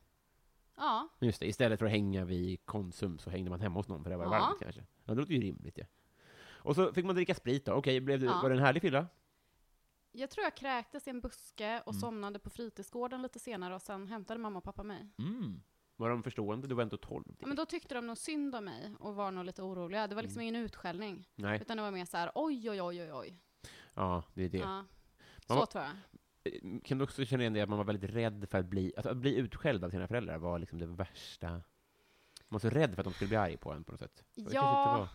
Ja,
Just det, istället för att hänga vid Konsum så hängde man hemma hos någon för det var
Ja.
varmt kanske. Ja, det låter ju rimligt ju. Och så fick man dricka sprit då. Okej, blev det,
Ja.
var det en härlig fylla?
jag tror jag kräktes i en buske och
Mm.
somnade på fritidsgården lite senare och sen hämtade mamma och pappa mig.
Var de förstående? Du var ändå 12.
Ja, men då tyckte de nog synd om mig och var nog lite oroliga. Det var liksom
Mm.
ingen utskällning.
Nej,
Utan det var mer så här, oj, oj, oj, oj, oj.
ja, det är det.
Ja. Så
Mamma-
tror jag.
Kan du också känna igen det att man var väldigt rädd för att bli, alltså att bli utskälld av sina föräldrar var liksom det värsta. Man var så rädd för att de skulle bli arg på en på något sätt. Och det kanske inte
Ja,
var-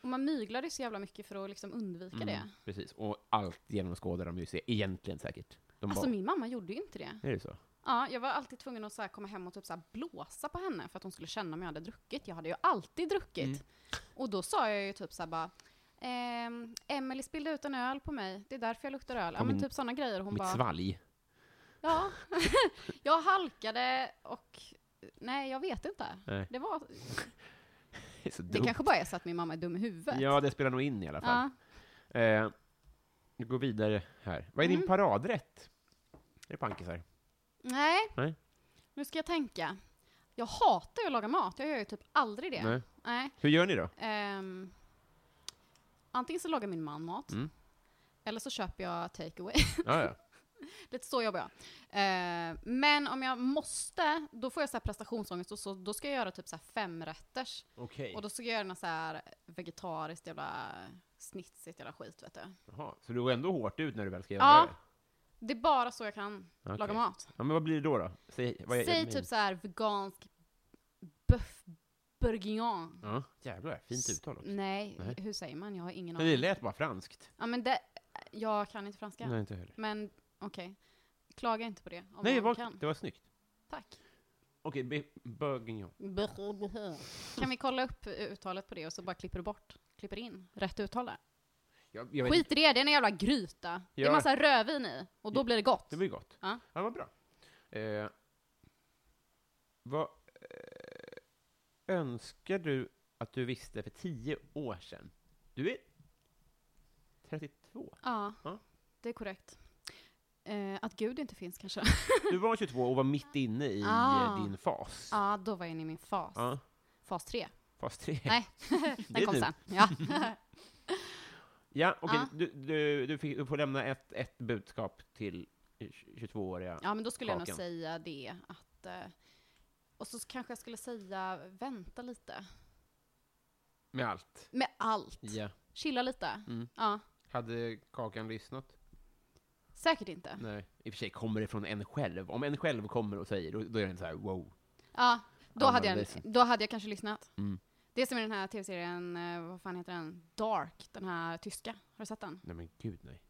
och man myglade ju så jävla mycket för att liksom undvika
Mm.
det.
Precis, och allt genomskådade de ju se, egentligen säkert. De
Alltså
bara,
min mamma gjorde ju inte det.
är det så?
Ja, jag var alltid tvungen att så här komma hem och typ så här blåsa på henne för att hon skulle känna om jag hade druckit. Jag hade ju alltid druckit.
Mm.
Och då sa jag ju typ så här bara, ehm, Emelie spillde ut en öl på mig, det är därför jag luktar öl. Ja
På
men
min-
typ sådana grejer. Hon
Mitt
bara,
svalg.
Ja, jag halkade och nej, jag vet inte.
Nej.
Det, var,
Det, är så
det
dumt.
kanske bara är så att min mamma är dum i huvudet.
Ja, det spelar nog in i alla fall.
Ja.
Eh, vi går vidare här. Vad är din
Mm.
paradrätt? Är det pankisar?
Nej.
Nej.
nu ska jag tänka. Jag hatar ju att laga mat, jag gör ju typ aldrig det.
Nej.
Nej.
Hur gör ni då?
Ehm, antingen så lagar min man mat,
Mm.
eller så köper jag takeaway.
Ja, ja.
Lite så jobbar jag. Eh, men om jag måste, då får jag så här prestationsångest och så, då ska jag göra typ så här femrätters.
Okej.
Och då ska jag göra något så här vegetariskt jävla snitsigt jävla skit vet du.
Jaha, Så du går ändå hårt ut när du väl ska göra
Ja,
det?
Det är bara så jag kan
Okej.
laga mat.
Ja, men vad blir det då? då? Säg, vad är,
Säg
men-
typ så här vegansk bœuf bourguignon.
Ja, jävlar, fint uttal också.
Nej,
Nej.
hur säger man? Jag har ingen
Men det
aning.
lät bara franskt.
Ja, men det, jag kan inte franska.
Nej, inte heller.
Men okej, klaga inte på det om
Nej, det
någon
var,
kan.
det var snyggt.
Tack.
Okej, be- bourguignon.
Kan vi kolla upp eh, uttalet på det och så bara klipper du bort, klipper in rätt uttal där.
Jag, jag vet
Skit
inte,
i det, det är en jävla gryta. Det
Ja.
är massa rödvin i och då
Ja.
blir det gott.
det var ju gott.
Ja.
Ja, vad bra. Eh, vad eh, önskar du att du visste för tio år sedan? Du är 32.
Ja,
Ja.
det är korrekt. Eh, att Gud inte finns kanske.
Du var 22 och var mitt inne i eh,
Ah.
din fas.
Ja, då var jag inne i min fas.
Ja,
Fas 3.
fas 3.
Nej,
Det är
den kom
nu.
sen. Ah. Ja.
Ja, okej,
Ja.
du, du, du, fick, du får lämna ett, ett budskap till eh, 22-åriga.
ja, men då skulle jag
Kakan.
nog säga det att... eh, Och så kanske jag skulle säga vänta lite.
Med allt.
Med allt.
Ja.
Chilla lite.
Mm.
Ja,
Hade Kakan lyssnat?
säkert inte.
Nej. I och för sig kommer det från en själv. Om en själv kommer och säger, då, då är den så här wow.
Ja, då
Ja,
hade,
men
jag,
det är
då hade jag kanske lyssnat.
Mm.
Det är som i den här tv-serien, eh, vad fan heter den? Dark, den här tyska. Har du sett den?
Nej men gud nej.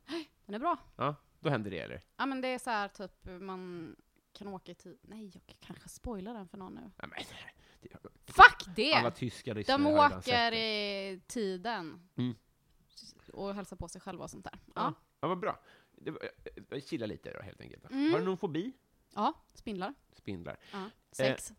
Den är bra.
Ja, då händer det eller?
Ja men det är så här typ, man kan åka i tid. Nej, jag kanske spoilar den för någon nu.
Nej, men,
Fuck det!
alla tyska lyssnare
De
har redan sett
åker
det.
i tiden.
Mm.
Och hälsar på sig själva och sånt där. Ja.
Ja. ja, vad bra. Det var- eh, Chilla lite då helt enkelt.
Mm.
Har du någon fobi?
Ja, spindlar.
Spindlar.
Ja.
Eh.
Sex.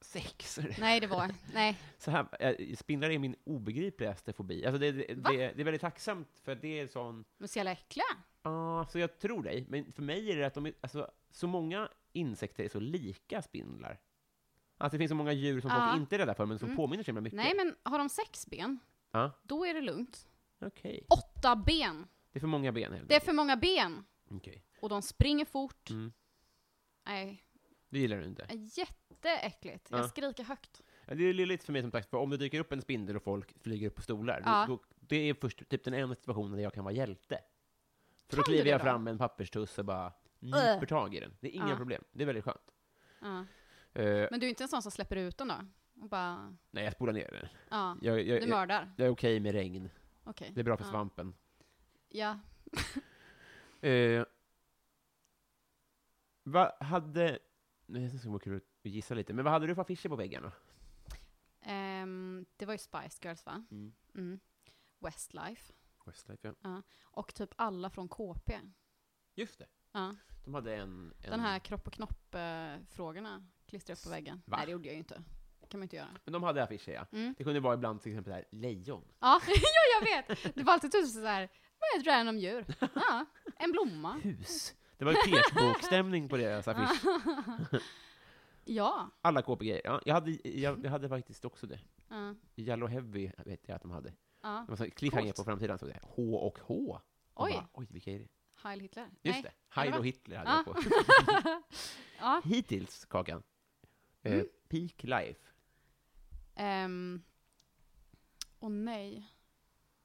Sex?
Nej, det var... Nej.
Så här, eh, spindlar är min obegripligaste fobi. Alltså det, det,
Va?
det, det är väldigt tacksamt för att det är sån...
De är så jävla äckliga.
Ja, så jag tror dig. Men för mig är det att de är, alltså, så många insekter är så lika spindlar. Alltså det finns så många djur som
Ja.
folk inte är rädda för, men som
Mm.
påminner så himla mycket.
Nej, men har de sex ben,
Ja,
då är det lugnt.
okej.
Åtta ben!
Det är för många ben helt
Det är
enkelt.
för många ben!
Okej.
Och de springer fort.
Mm.
Nej,
Det gillar du inte.
jätteäckligt.
Ja.
Jag skriker högt.
Ja, det är lite för mig som sagt, för om det dyker upp en spindel och folk flyger upp på stolar,
Ja.
då, då, det är först typ den enda situationen där jag kan vara hjälte. För då
Kan du
kliver
det
jag
då?
fram med en papperstuss och bara nyper
Äh.
tag i den. Det är inga
Ja.
problem. Det är väldigt skönt.
Ja.
Eh,
Men du är inte en sån som släpper ut den då? Och bara...
nej, jag spolar ner den.
Ja.
Jag, jag,
Du
jag,
mördar?
jag är okej med regn.
Okej.
Eh, Det är bra för
Ja.
svampen.
Ja.
Eh, vad hade... Nej, det skulle vara kul att gissa lite. Men vad hade du för affischer på väggarna?
Ehm, det var ju Spice Girls va? Mm. Westlife.
Westlife, ja.
Och typ alla från KP.
Just det.
Ja.
De hade en... en
Den här kropp och knopp-frågorna klistrade upp på väggen.
Va?
Nej, det gjorde jag ju inte. Det kan man ju inte göra.
Men de hade affischer, ja.
Mm.
Det kunde vara ibland till exempel det här lejon.
Ja, ja, jag vet! Det var alltid typ så här. vad är ett random djur? Ja, en blomma.
Hus. Det var ju petbokstämning på deras affisch.
Ah. Ja.
Alla KPG. Ja, jag, hade, jag, jag hade faktiskt också det.
ja.
Yellow Heavy vet jag att de hade. Det
ja.
var så cliffhanger
Coolt.
på framsidan stod det. H och H. Och
Oj.
Bara, Oj, vilka är det?
Heil Hitler.
Just
Nej.
det. Heil
Eller
och
va?
Hitler hade
Ja.
jag på.
Ah. Ja.
Hittills, Kakan. Eh,
Mm.
Peak Life.
Ehm. Åh nej.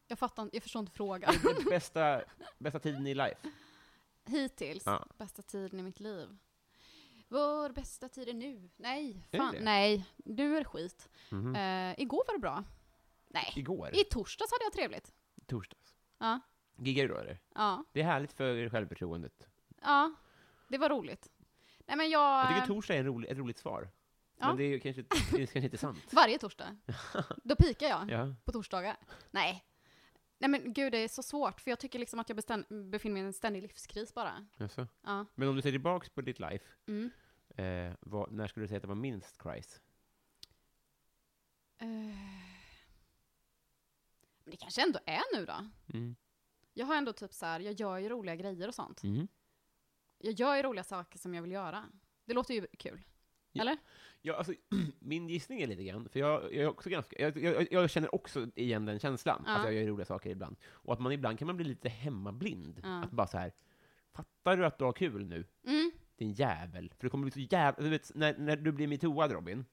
Jag fattar inte- jag förstår inte frågan.
Det är bästa, bästa tiden i life.
Hittills,
Ja.
bästa tiden i mitt liv. Vår bästa tid är nu. Nej,
det
fan.
det?
Nej, nu är det skit.
Mhm.
Eh, igår var det bra. Nej,
Igår,
i torsdags hade jag trevligt.
torsdags.
Ja,
Giggar du då eller?
ja,
Det är härligt för självförtroendet.
ja. Det var roligt. Nej men jag...
Jag tycker torsdag är en rolig, ett roligt svar.
Eh. Ja.
Men det är ju kanske, det är kanske inte sant.
varje torsdag. Då pikar jag.
Ja.
På torsdagar. Nej. Nej men gud, det är så svårt. För jag tycker liksom att jag bestäm- befinner mig i en ständig livskris bara.
Jaså.
Ja.
Men om du ser tillbaks på ditt life,
Mm.
eh, vad, när skulle du säga att det var minst kris?
Eh. Men det kanske ändå är nu då.
Mm.
Jag har ändå typ så här, jag gör ju roliga grejer och sånt.
Mm.
Jag gör ju roliga saker som jag vill göra. Det låter ju kul.
Ja.
Eller?
Ja, alltså, min gissning är lite grann, för jag, jag, är också ganska, jag, jag, jag känner också igen den känslan,
Ja.
att jag gör roliga saker ibland. Och att man ibland kan man bli lite hemmablind.
Ja.
Att bara så här, fattar du att du har kul nu,
Mm.
din jävel? För det kommer bli så jävla, du vet, när, när du blir metooad Robin,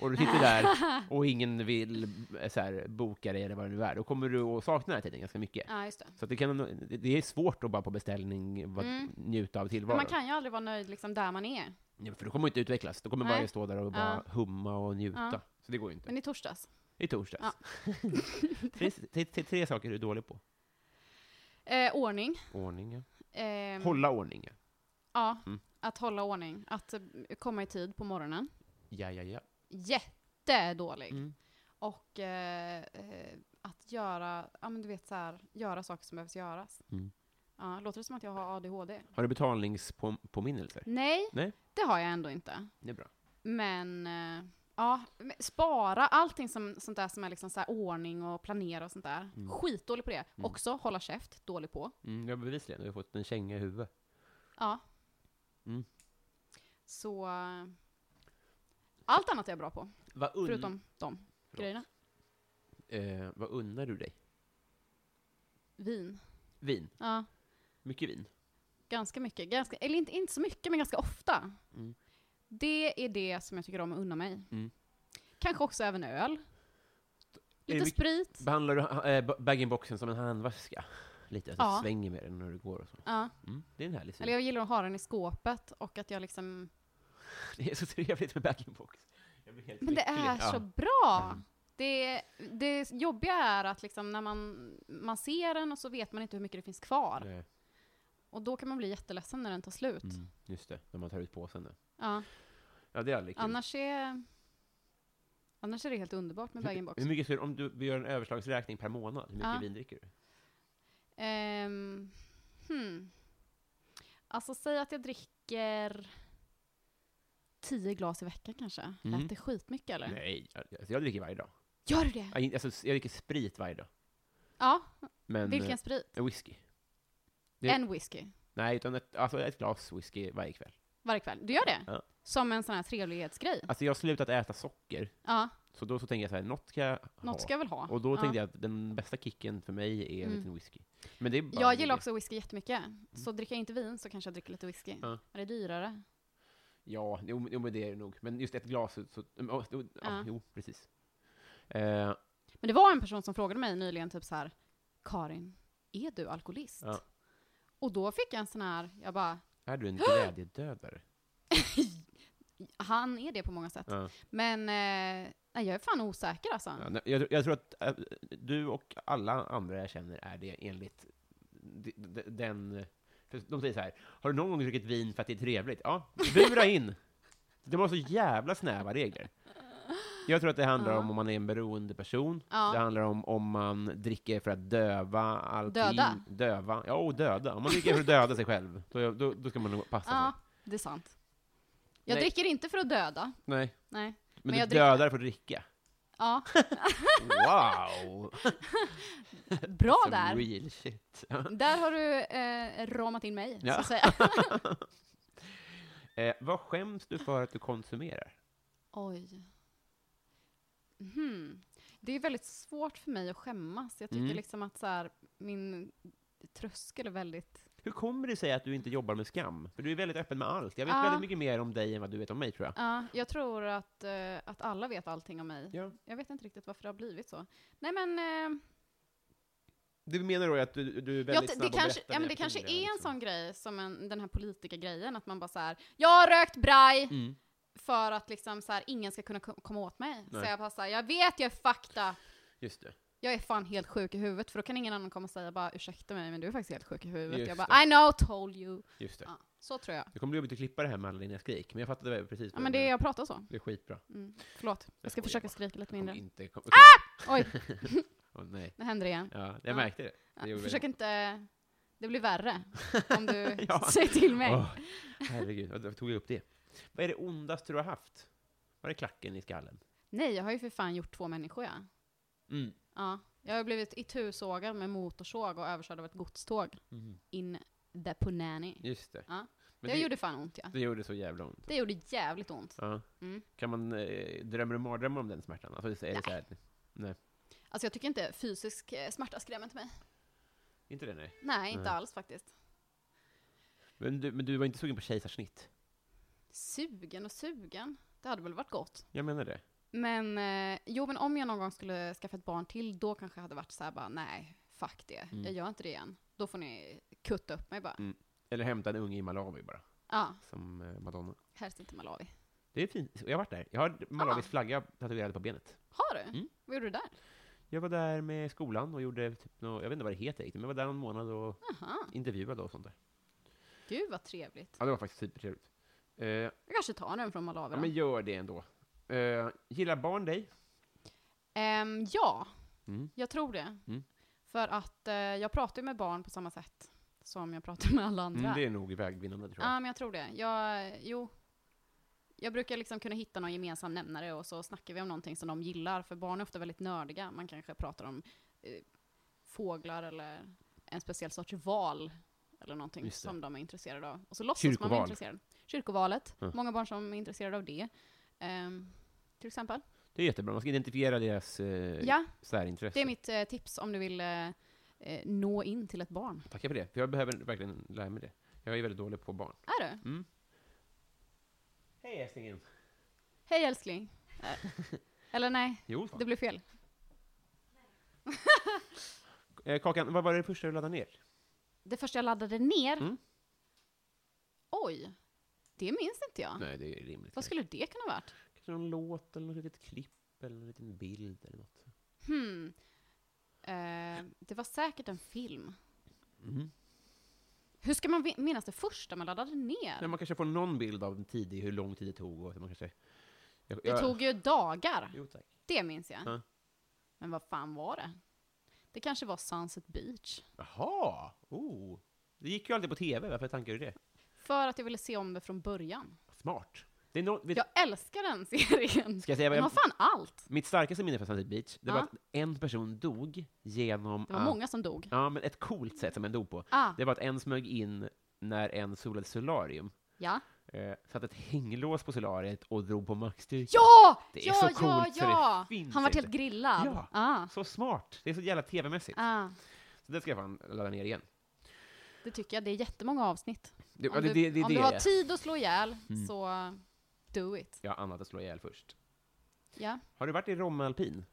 och du sitter där och ingen vill eh, så här, boka dig eller vad det nu är, då kommer du att sakna den här tiden ganska mycket.
Ja, just det.
Så att det, kan, det är svårt att bara på beställning va-
Mm.
njuta av
Men
tillvaron.
man kan ju aldrig vara nöjd liksom där man är.
Ja, för då kommer man inte utvecklas. Då kommer man
Nej.
bara stå där och bara humma och njuta.
Ja.
Så det går ju inte.
Men i torsdags.
I torsdags.
Ja.
tre, tre, tre, tre saker du är dålig på.
Eh, ordning.
Ordning, ja.
Ehm,
Hålla ordning, ja.
Ja,
Mm.
att hålla ordning. Att eh, komma i tid på morgonen.
Ja, ja, ja.
Jättedålig.
Mm.
Och eh, eh, att göra, ja men du vet så här, göra saker som behövs göras.
Mm.
Ja, låter det som att jag har ADHD?
Har du betalningspåminnelser?
Nej,
Nej.
det har jag ändå inte.
Det är bra.
Men eh, ja, men spara allting som, sånt där som är liksom så här ordning och planera och sånt där.
Mm.
Skitdålig på det.
Mm.
Också hålla käft, dålig på.
Mm, jag bevisligen. Du har fått en känga i huvudet.
Ja.
Mm.
Så eh, allt annat är jag bra på,
Vad, un-
förutom de grejerna.
Eh, vad unnar du dig?
Vin.
Vin.
Ja.
Mycket vin.
Ganska mycket. Ganska, eller inte, inte så mycket, men ganska ofta.
Mm.
Det är det som jag tycker om att unna mig.
Mm.
Kanske också även öl.
det
Lite
mycket-
sprit.
Behandlar du äh, bag-in-boxen som en handväska? Lite, alltså
Ja.
svänger med den när du går och så.
Ja.
Mm, det är en härlig syn.
Eller jag gillar att ha den i skåpet och att jag liksom...
Det är så trevligt med bag-in-box. Jag blir helt
Men det
lycklig.
är
Ja.
så bra!
Mm.
Det, det jobbiga är att liksom när man, man ser den och så vet man inte hur mycket det finns kvar.
Nej.
Och då kan man bli jätteledsen när den tar slut.
Mm, just det, när man tar ut påsen. där.
Ja.
Ja, det är aldrig kul.
Annars, är, annars är det helt underbart med bag
hur,
box
hur mycket skulle, om du vi gör en överslagsräkning per månad, hur mycket
Ja.
vin dricker du?
Ehm, hmm. Alltså säg att jag dricker tio glas i veckan kanske.
Mm.
Lät det skitmycket eller?
Nej, alltså jag dricker varje dag.
Gör du det?
Jag, alltså, jag dricker sprit varje dag.
Ja,
Men,
vilken sprit?
eh, Whisky. det-
En whisky
Nej, utan ett, alltså ett glas whisky varje kväll.
varje kväll. Du gör det?
Ja.
Som en sån här trevlighetsgrej?
Alltså jag har slutat äta socker,
Ja,
så då så tänker jag så här, något ska jag ha.
något ska jag väl ha.
Och då
ja.
tänkte jag att den bästa kicken för mig är en
Mm.
liten whisky. Men det är bara
Jag gillar också whisky jättemycket. Så
Mm.
dricker jag inte vin så kanske jag dricker lite whisky.
Ja.
Men det är dyrare.
Ja, jo, jo men det är det nog. Men just ett glas, så, så, mm, ja, jo, ja.
Ja.
jo precis. Eh,
Men det var en person som frågade mig nyligen typ så här, Karin, är du alkoholist?
Ja.
Och då fick jag en sån här, jag bara,
är du en glädjedödare?
han är det på många sätt.
Ja.
Men eh, nej, jag är fan osäker alltså.
Ja, nej, jag, jag tror att eh, du och alla andra jag känner är det enligt d- d- den... För de säger så här, har du någon gång druckit vin för att det är trevligt? Ja, bura in! De har så jävla snäva regler. Jag tror att det handlar
Ja.
om om man är en beroende person.
Ja.
Det handlar om om man dricker för att döva allting.
Döda.
Döva. Ja, och döda. Om man dricker för att döda sig själv, då, då, då ska man nog passa
Ja,
sig.
det är sant. Jag
alltså. Nej.
dricker inte för att döda.
Nej.
Nej.
Men,
Men
du
jag dricker-
dödar för att dricka.
Ja,
Wow!
bra
Some
där.
Real shit.
Där har du eh, ramat in mig,
Ja.
så att säga.
Eh, vad skäms du för att du konsumerar?
Oj. Mhm. Det är väldigt svårt för mig att skämmas. Jag tycker
Mm.
liksom att så här, min tröskel är väldigt...
Hur kommer det sig att du inte jobbar med skam? För du är väldigt öppen med allt. Jag vet
Ja.
väldigt mycket mer om dig än vad du vet om mig, tror jag.
Ja, jag tror att, eh, att alla vet allting om mig.
Ja.
Jag vet inte riktigt varför det har blivit så. Nej men, eh,
Du menar då att du, du är
jag,
väldigt snabb
det
att
kanske,
berätta
ja,
dina
men det kanske
personliga,
är en
liksom.
sån grej som en, den här politikergrejen, att man bara så här, jag har rökt braj
Mm.
för att liksom så här, ingen ska kunna ko- komma åt mig.
Nej.
Så jag bara så här, jag vet jag är fakta,
Just det.
jag är fan helt sjuk i huvudet, för då kan ingen annan komma och säga bara ursäkta mig, men du är faktiskt helt sjuk i huvudet.
Just
jag bara, I know, told you.
Just det.
Ja, så tror jag.
Det kommer bli jobbigt att klippa det här med alla dina skrik, men jag fattade väl precis.
Ja
vad
men
du
det,
menade.
jag pratar så.
det är skitbra.
Mm. Förlåt, jag ska
skojar
försöka
bara.
skrika lite
Kommer
mindre.
Inte, kom, ah!
Oj,
nej.
det händer igen.
Ja, jag
Ja.
märkte det.
Ja,
gjorde
försök inte, det blir värre om du
Ja.
säger till mig.
Åh, herregud, varför tog jag upp det? Vad är det ondaste du har haft? Var det klacken i skallen?
Nej, jag har ju för fan gjort två människor ja.
Mm.
Ja, jag har blivit itusågad med motorsåg och överkörd av ett godståg in the punani.
Mhm, Just det.
Ja.
Men
det,
det,
gjorde fan ont ja.
det gjorde så jävla ont.
Det gjorde jävligt ont.
Ja.
Mm.
Kan man, eh, drömmer du mardrömmar om den smärtan? Alltså, är det så här,
Alltså jag tycker inte fysisk eh, smärta skrämmer inte mig.
inte det nej.
Nej, inte
Nej.
alls faktiskt.
Men du, men du var inte sugen på kejsarsnitt?
Sugen och sugen, det hade väl varit gott.
Jag menar det.
Men eh, jo, men om jag någon gång skulle skaffa ett barn till, då kanske jag hade varit så här bara nej, fuck det.
Mm.
Jag gör inte det igen. Då får ni kutta upp mig bara.
Mm. Eller hämta en unge i Malawi bara,
Ja,
som eh, Madonna.
helst inte Malawi.
Det är fint. Jag har varit där. Jag har Malawis
Ah.
flagga tatuerad på benet.
Har du?
Mm.
Vad gjorde du där?
Jag var där med skolan och gjorde typ nå jag vet inte vad det heter riktigt, men jag var där någon månad och
Aha,
intervjuade och sånt där.
gud vad trevligt.
Ja, det var faktiskt supertrevligt. Eh, ja,
Jag kanske tar den från Malawi då.
men gör det ändå. Eh, gillar barn dig?
Ehm, ja,
Mm.
jag tror det.
Mm.
För att eh, jag pratar ju med barn på samma sätt som jag pratar med alla andra.
Mm, det är nog vägvinnande tror jag.
Ja, men jag tror det. Jag, jo. Jag brukar liksom kunna hitta någon gemensam nämnare och så snackar vi om någonting som de gillar, för barn är ofta väldigt nördiga. Man kanske pratar om eh, fåglar eller en speciell sorts val eller någonting
Just det.
som de är intresserade av. Och så låtsas man
Kyrkoval.
vara intresserad. Kyrkovalet.
Ja.
Många barn som är intresserade av det. Ehm, till exempel.
Det är jättebra, man ska identifiera deras eh,
Ja,
särintresse.
det är mitt eh, tips om du vill eh, eh, nå in till ett barn.
Tackar för det, för jag behöver verkligen lära mig det. Jag är väldigt dålig på barn.
Är du?
Hej älsklingen!
Hej älskling. Eh, Eller nej,
Jo,
det blev fel.
eh, Kakan, vad var det första du laddade ner?
Det första jag laddade ner?
Mm.
Oj, det minns inte jag.
Nej, det är rimligt.
Vad skulle det kunna ha varit?
Kanske någon låt eller något litet klipp eller en liten bild eller något.
Hmm. Eh, det var säkert en film.
Mm.
Hur ska man vi- minnas det första man laddade ner?
Nej, man kanske får någon bild av en tidig, hur lång tid det tog och hur man kanske... Jag,
Det tog ju dagar.
Jo, tack.
Det minns jag.
Ja.
Men vad fan var det? Det kanske var Sunset Beach.
Jaha! Oh. Det gick ju alltid på tv, varför tankar du det?
För att jag ville se om det från början.
Smart. Det är no, vet,
Jag älskar den serien.
Ska jag säga vad
Den
jag-
har fan allt.
Mitt starkaste minne från Sunset Beach, det var
Ja.
att en person dog genom
Det var
att...
många som dog.
Ja, men ett coolt sätt som en dog på.
Ah,
Det var att en smög in när en solade solarium,
ja.
eh, satte ett hänglås på solariet och drog på maxstyrka.
Ja!
Det är
ja,
så
ja,
coolt så det
ja!
finns
Han var
inte.
helt grillad.
Ja.
Ah,
Så smart! Det är så jävla tv-mässigt.
ah.
Så det ska jag fan ladda ner igen.
Det tycker jag. Det är jättemånga avsnitt.
Det,
Om
ja, det,
du,
det, det, är
om
det.
du har tid att slå ihjäl,
Mm.
så do it.
Jag har annat att slå ihjäl först.
Ja.
Har du varit i Romme Alpin?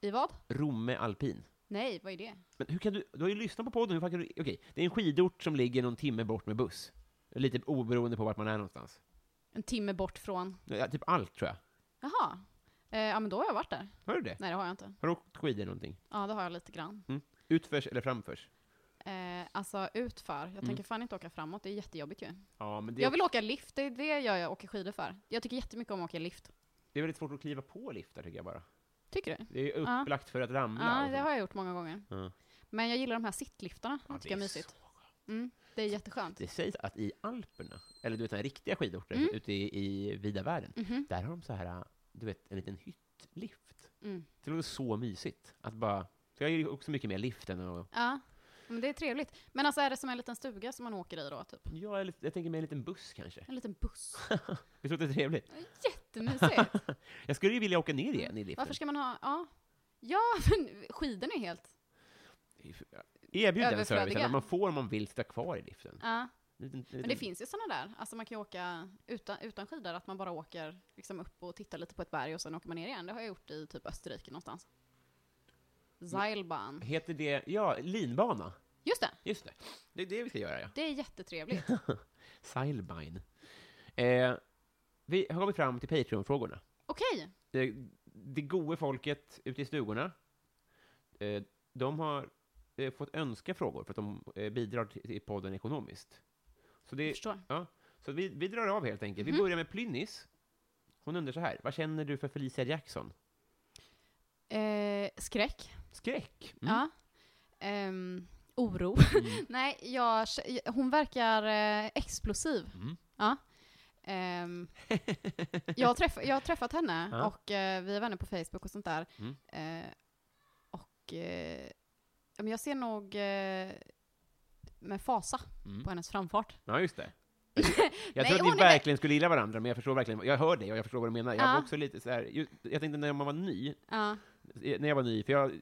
I vad?
Romme Alpin?
Nej, vad är det?
Men hur kan du, du har ju lyssnat på podden, hur fan kan du, okej, det är en skidort som ligger någon timme bort med buss. Lite oberoende på vart man är någonstans.
En timme bort från...
Ja, typ allt tror jag.
Jaha. Eh, ja, men då har jag varit där.
Har du det?
Nej, det har jag inte.
Har du åkt skidor någonting?
Ja, det har jag lite grann.
Utförs eller framförs?
Eh, alltså utför. Jag
Mm.
tänker fan inte åka framåt, det är jättejobbigt ju.
Ja, men det,
Jag vill åka lift, det är det jag åker skidor för. Jag tycker jättemycket om att åka lift.
det är väldigt svårt att kliva på liftar tycker jag bara.
Tycker du?
Det är ju
Ja.
upplagt för att ramla.
Ja,
och
det
så.
har jag gjort många gånger.
Mm, Ja.
Men jag gillar de här sittliftarna,
Ja,
de tycker jag
det
är
är
mysigt. Mm, det är jätteskönt.
Det sägs att i Alperna, eller du vet den riktiga skidorter
Mm.
ute i, i vida världen,
Mhm,
där har de så här, du vet, en liten hyttlift.
mm.
Det låter så mysigt. Att bara, för jag är ju också mycket mer lift än att
Ja, men det är trevligt. Men alltså är det som en liten stuga som man åker i då, typ?
Ja, eller- jag tänker mig en liten buss kanske.
En liten buss.
Visst låter det trevligt?
Jättemysigt.
Jag skulle ju vilja åka ner igen i liften.
Varför ska man ha, ja. Ja, men skidorna är helt,
Erbjud den
Överflödiga.
servicen att man får om man vill sitta kvar i liften.
ja.
Liten-
Men det
liten-
finns ju sådana där, alltså man kan ju åka utan, utan skidor, att man bara åker liksom upp och tittar lite på ett berg och sen åker man ner igen. Det har jag gjort i typ Österrike någonstans. Seilbahn.
Heter det, ja, linbana.
Just det,
Just det. Det är det vi ska göra, ja.
det är jättetrevligt.
Seilbein. Eh, vi har kommit fram till Patreon-frågorna.
Okej,
Det, det gode folket ute i stugorna, eh, de har eh, fått önska frågor för att de eh, bidrar till, till podden ekonomiskt. Så det,
jag förstår.
Så vi, vi drar av helt enkelt. Vi
Mhm.
börjar med Plynnis. Hon undrar så här, vad känner du för Felicia Jackson?
Eh, skräck,
Skräck? Mm.
ja. Ehm, oro. Nej, jag, hon verkar eh, explosiv.
Mm.
Ja. Ehm, jag, har träff, jag har träffat henne
Ja.
och eh, vi är vänner på Facebook och sånt där.
Mm.
Eh, och eh, ja, men jag ser nog eh, med fasa
Mm.
på hennes framfart.
Ja, just det.
Nej,
Jag tror
hon
att
är
ni verkligen skulle gilla varandra, men jag förstår verkligen, jag hör dig och jag förstår vad du menar. Jag
Ja.
var också lite så här, ju- jag tänkte när man var ny,
Ja,
eh, när jag var ny, för jag, eh,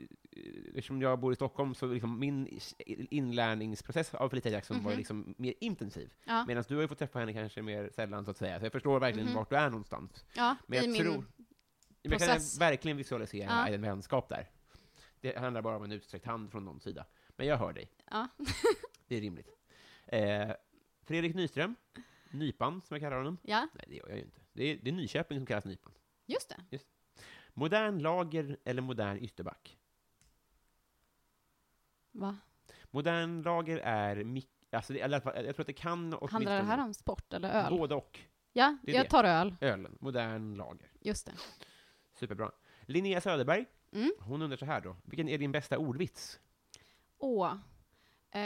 eftersom jag bor i Stockholm, så liksom min inlärningsprocess av Felicia Jackson var
Mhm.
ju liksom mer intensiv.
Ja.
Medan du har ju fått träffa henne kanske mer sällan, så att säga. Så jag förstår verkligen
Mhm.
vart du är någonstans.
ja
Men
i
jag
min...
tror... Men jag kan
process.
verkligen visualisera
Ja.
en vänskap där. Det handlar bara om en utsträckt hand från någon sida. Men jag hör dig,
Ja.
det är rimligt. Eh, Fredrik Nyström, Nypan som jag kallar honom.
ja,
Nej, det gör jag ju inte. Det är, det är Nyköping som kallas Nypan.
just det.
Modern lager eller modern ytterback?
Va?
Modern lager är mik- alltså det, eller, i alla fall- jag tror att det kan
Handlar det här om sport eller öl?
Både och.
Ja,
Det är
jag
det.
tar öl.
Ölen, modern lager.
Just det.
Superbra. Linnea Söderberg,
Mm.
hon undrar så här då. Vilken är din bästa ordvits?
Åh. Eh,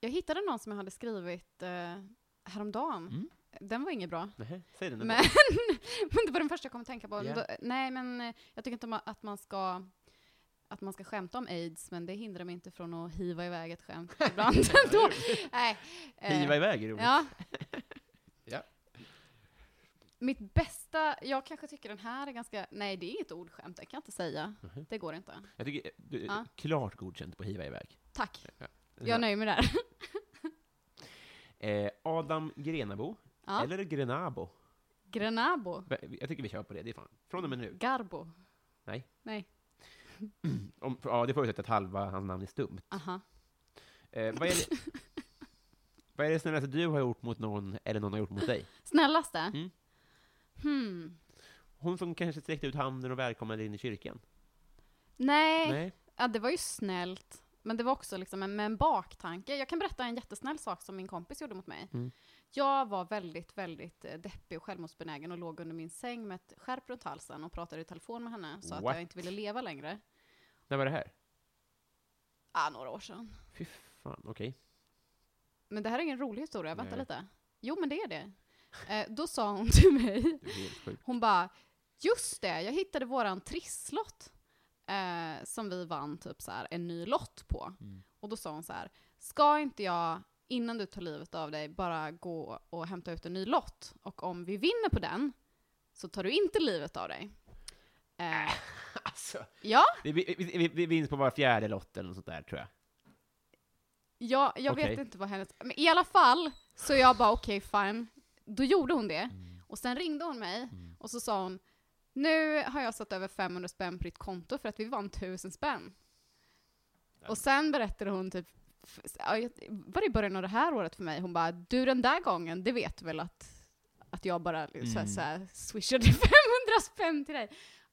jag hittade någon som jag hade skrivit eh, häromdagen.
Mm.
Den var inget bra.
Nähä, säg den då.
Men, men det var den första jag kom att tänka på.
Ja.
Då, nej, men eh, jag tycker inte om att man ska att man ska skämta om aids, men det hindrar mig inte från att hiva iväg ett skämt ibland. Då, nej, eh,
Hiva iväg är roligt.
ja.
Ja.
Mitt bästa, jag kanske tycker den här är ganska, nej det är inget ordskämt, det kan jag inte säga.
Mhm.
Det går inte.
Jag tycker du,
Ja.
klart godkänt på hiva iväg.
Tack,
Ja.
jag nöjer mig där.
eh, Adam Grenabo,
Ja.
eller Grenabo.
Grenabo,
Jag tycker vi kör på det, det är fan. Från och med nu.
Garbo.
Nej.
Nej,
Om, för- ja, det förutsätter att halva hans namn är stumt.
aha.
Eh, vad, är det, vad är det snällaste Mm. du har gjort mot någon, eller någon har gjort mot dig?
Snällaste?
Mm.
Hmm.
Hon som kanske sträckte ut handen och välkomnade in i kyrkan?
Nej,
Nej?
Ja, det var ju snällt. Men det var också liksom en, med en baktanke. Jag kan berätta en jättesnäll sak som min kompis gjorde mot mig.
Mm.
Jag var väldigt, väldigt eh, deppig och självmordsbenägen och låg under min säng med ett skärp runt halsen och pratade i telefon med henne. Så att
What?
jag inte ville leva längre.
När var det här?
Ah, några år sedan.
Fy fan, okej.
Men det här är ingen rolig historia, vänta
Nej.
lite. Jo, men det är det. Eh, då sa hon till mig,
Det är helt sjukt.
hon bara, just det, jag hittade våran trisslott. Eh, som vi vann typ så här, en ny lott på.
Mm.
Och då sa hon så här, ska inte jag, innan du tar livet av dig, bara gå och hämta ut en ny lott? Och om vi vinner på den, så tar du inte livet av dig. Eh,
Alltså,
ja,
vi, vi, vi, vi- vi vinns på var fjärde lott eller något sånt där, tror jag.
Ja, jag vet
Okej.
inte vad hennes... Men i alla fall, så jag bara okej, fine. Då gjorde hon det.
Mm.
Och sen ringde hon mig och så sa hon, nu har jag satt över 500 spänn på ditt konto för att vi vann 1000 spänn. Och sen berättade hon typ, f- ja, jag- var det i början av det här året för mig? Hon bara, du den där gången, det vet du väl att, att jag bara så här,
Mm.
så här, swishade 500 spänn till dig?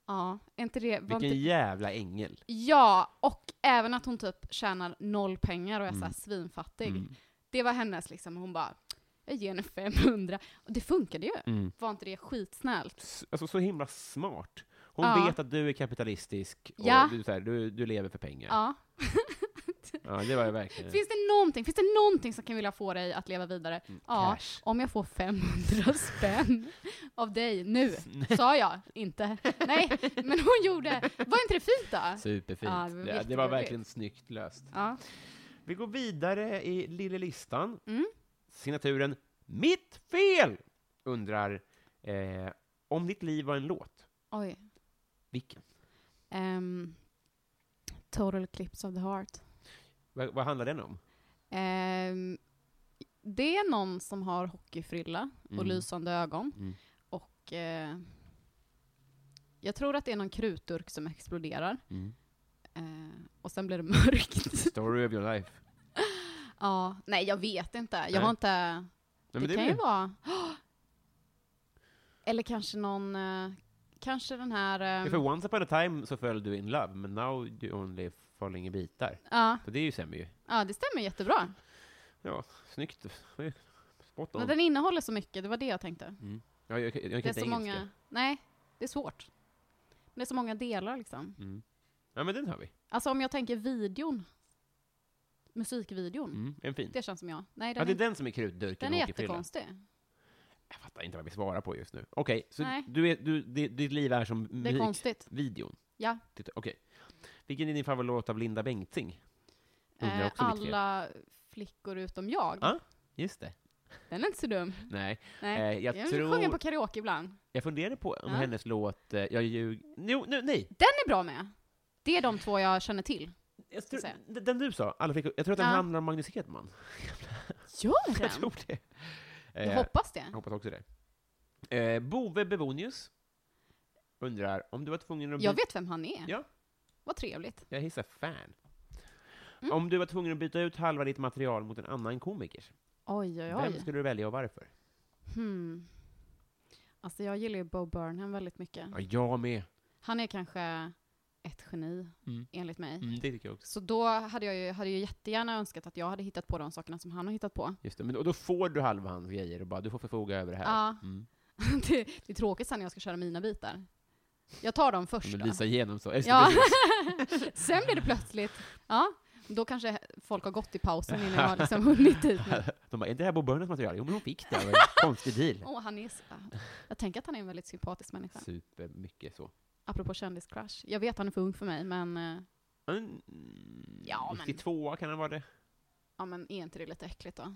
Ja, är inte det... var
Vilken
inte,
jävla ängel.
Ja, och även att hon typ tjänar noll pengar och är såhär svinfattig.
Mm.
Det var hennes liksom, hon bara, jag ger henne 500. Och det funkade ju.
Mm.
Var inte det skitsnällt?
S- Alltså så himla smart. Hon
Ja.
vet att du är kapitalistisk och
Ja.
du, så här, du, du lever för pengar.
Ja.
Ja, det var ju verkligen.
Finns det någonting, finns det någonting som kan vilja få dig att leva vidare?
Mm,
Ja.
Cash.
Om jag får 500 spänn av dig nu, sa jag inte. Nej, men hon gjorde, var inte det fint då?
Superfint.
Ja, det var
det, det, var
jätteroligt.
verkligen snyggt löst.
Ja.
Vi går vidare i lille listan.
Mm.
Signaturen Mitt fel! Undrar eh, om ditt liv var en låt.
Oj.
Vilken?
Ehm, total eclipse of the heart.
Vad, vad handlar den om?
Ehm, det är någon som har hockeyfrilla och
Mm.
lysande ögon.
Mm.
Och eh, jag tror att det är någon krutdurk som exploderar. Eh, och sen blir det mörkt.
mm. Story of your life.
ja, nej jag vet inte. Jag
Nej.
har inte...
Nej, men
det, kan
blir-
ju vara... Eller kanske någon... Eh, kanske den här...
Ja,
ehm,
för once upon a time så föll du in love, men now you only falling i bitar.
ja,
Så det är ju sämre ju.
ja, det stämmer jättebra.
Ja, snyggt. Spot
Men
on. Mm.
den innehåller så mycket, det var det jag tänkte.
Ja, jag, jag, jag kan
Det är
inte
så
engelska.
många... Nej, det är svårt. Men det är så många delar liksom.
Mm. Ja, men den har vi.
Alltså om jag tänker videon. Musikvideon.
Mm. En fin.
Det känns som jag. Nej, den,
Ja, det är
är,
den som är krutdurken
den är
och hockeyfrillan.
jättekonstig.
Jag fattar inte vad vi svarar på just nu. Okej, så
Nej.
du är, du, di- ditt liv är som
Det är konstigt.
musikvideon?
Ja.
Titta, Okej. Vilken är din favoritlåt av Linda Bengtzing? Undrar
Eh,
också mitt fel.
alla flickor utom jag.
Ah. Just det.
Den är inte så dum.
Nej,
Nej.
eh, jag,
jag
tror...
sjunger
Jag,
på karaoke ibland.
funderade på om
Ja.
hennes låt eh, Jag ljug... Jo, nu, nej!
Den är bra med. Det är de två jag känner till.
Jag
Ska
tror,
säga.
den den du sa, alla fick, jag tror att den
Ja.
handlar om Magnus Hedman.
Gör
Jag
den?
tror det. Eh,
Jag hoppas det.
jag hoppas också det. Eh, Bove Bevonius undrar om du var tvungen att
Jag
byta...
vet vem han är.
Ja.
Vad trevligt.
Jag hissar fan.
Mm.
Om du var tvungen att byta ut halva ditt material mot en annan komiker,
Oj, oj,
Vem
oj.
skulle du välja och varför?
Mm. Hmm. Alltså jag gillar ju Bo Burnham väldigt mycket.
Ja, jag med.
Han är kanske ett geni,
Mm.
enligt mig.
Mm, det tycker jag också.
Så då hade jag ju hade jag jättegärna önskat att jag hade hittat på de sakerna som han har hittat på.
Just det. Men, och då får du halva hans grejer och bara, du får förfoga över det här.
Ja.
Mm.
Det, det är tråkigt sen när jag ska köra mina bitar. Jag tar dem först
Men
då.
visa igenom så. Just det,
Ja.
precis.
sen blir det plötsligt, ja, då kanske folk har gått i pausen innan jag har liksom hunnit dit. Men-
De bara, är det här Bo Burnhams material? Jo, men hon fick det. Det var en konstig deal.
Åh, han är, så- jag tänker att han är en väldigt sympatisk människa.
Supermycket så.
Apropå kändiscrush. Jag vet han är för ung för mig, men, eh,
Mm,
Ja, men-
92 kan han vara det. ja
ja, men är inte det lite äckligt då?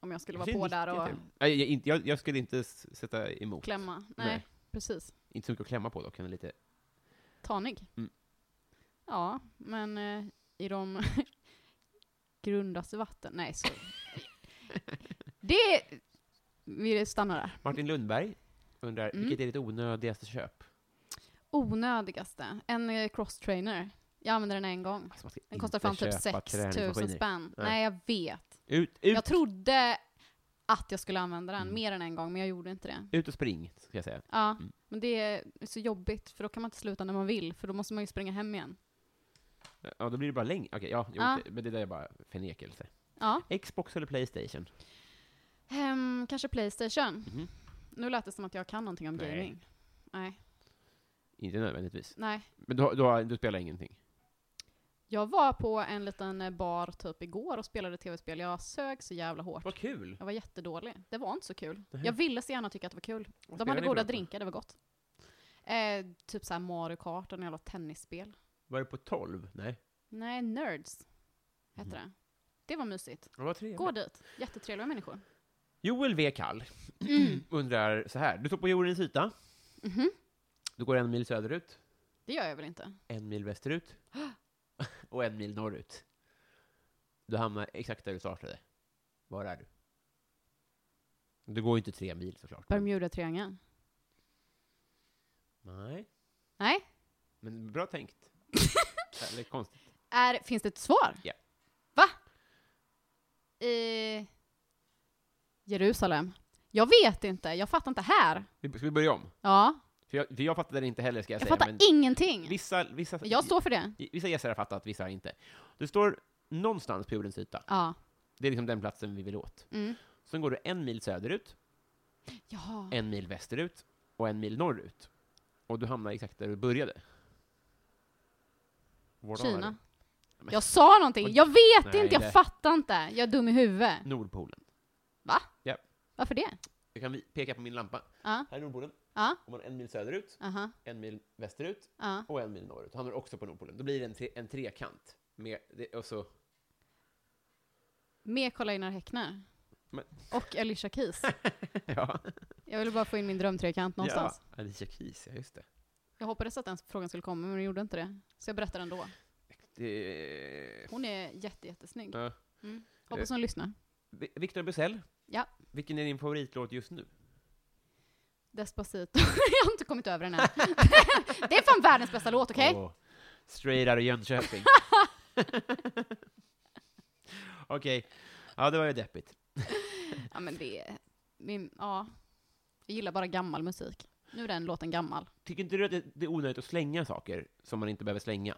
Om jag skulle vara på där och
Nej, jag, inte- jag, jag skulle inte s- sätta emot.
klämma. Nej,
Nej.
precis.
Inte så mycket att klämma på dock. Han är lite...
Tanig.
Mm.
Ja, men eh, i de grundaste vatten... Nej, så... det... Vi stannar där.
Martin Lundberg undrar,
Mm.
vilket är ditt onödigaste köp?
Onödigaste. En eh, cross-trainer. Jag använde den en gång.
Alltså, man ska
Den kostar
inte
fan typ
köpa
6 000
träningsmaskiner.
spänn.
Nej.
Nej, jag vet.
Ut, ut!
Jag trodde att jag skulle använda den
Mm.
mer än en gång, men jag gjorde inte det.
Ut och spring, ska jag säga.
Ja,
Mm.
men det är så jobbigt, för då kan man inte sluta när man vill, för då måste man ju springa hem igen.
Ja, då blir det bara längre. Okej, ja, jo,
Ja.
okej. men det där är bara förnekelse.
Ja.
Xbox eller Playstation?
Ehm, kanske Playstation.
Mhm.
Nu lät det som att jag kan någonting om
Nej.
gaming. Nej.
Inte nödvändigtvis.
Nej.
Men du, har- du, har- du spelar ingenting?
Jag var på en liten eh, bar typ igår och spelade tv-spel. Jag sög så jävla hårt.
Vad kul!
Jag var jättedålig. Det var inte så kul.
Nähä.
Jag ville så gärna tycka att det var kul. De hade goda drinkar, det var gott. Eh, typ såhär Mario Kart och något jävla tennisspel.
Var det på 12? Nej.
Nej, Nerds hette det. Det var mysigt.
Det var tre.
Gå dit. Jättetrevliga människor.
Joel V. Kall
Mm.
undrar så här. Du står på jordens yta.
Mhm.
Du går en mil söderut,
Det gör jag väl inte?
en mil västerut och en mil norrut. Du hamnar exakt där du startade. Var är du? Du går ju inte tre mil såklart. men-
Bermuda-triangeln?
Nej.
Nej.
Men bra tänkt. Eller konstigt.
Är, finns det ett svar?
Ja.
Va? I Jerusalem? Jag vet inte, jag fattar inte här.
Vi- Ska vi börja om?
Ja,
För jag, för jag fattade det inte heller ska jag,
jag
säga.
fattar
men
ingenting.
vissa, vissa,
Jag står för det.
vissa gäster har fattat, vissa har inte. Du står någonstans på jordens yta.
Ja.
Det är liksom den platsen vi vill åt.
Mm.
Sen går du en mil söderut,
Ja.
en mil västerut och en mil norrut. Och du hamnar exakt där du började. Vart hamnar
Kina.
Men-
Jag sa någonting, jag vet
Nej,
inte, jag
det-
fattar inte. Jag är dum i huvudet.
du? Nordpolen.
Varför det?
Jag kan vi- peka på min lampa.
Ja,
Här är Nordpolen.
ja,
Om man en mil söderut,
aha,
en mil västerut
ja.
och en mil norrut. Då hamnar du också på Nordpolen. Då blir det en, tre, en trekant. Med, det, och så,
Med Karl Einar Häckner.
Men-
Och Alicia Keys.
ja.
Jag ville bara få in min drömtrekant någonstans.
Ja, Alicia Keys, ja just det.
Jag hoppades att den frågan skulle komma, men den gjorde inte det. Så jag berättar ändå.
det...
Hon är jätte, jättesnygg.
Ja.
Mm. Hoppas hon lyssnar.
Vi- Victor Bussell?
Ja.
Vilken är din favoritlåt just nu?
Despacito. jag har inte kommit över den än. det är fan världens bästa låt, okej?
Åh, straight out of Jönköping. Okej. Ja, det var ju deppigt.
Ja, men det är... Min, ja. Jag gillar bara gammal musik. Nu är den låten gammal.
Tycker inte du att det det är onödigt att slänga saker som man inte behöver slänga?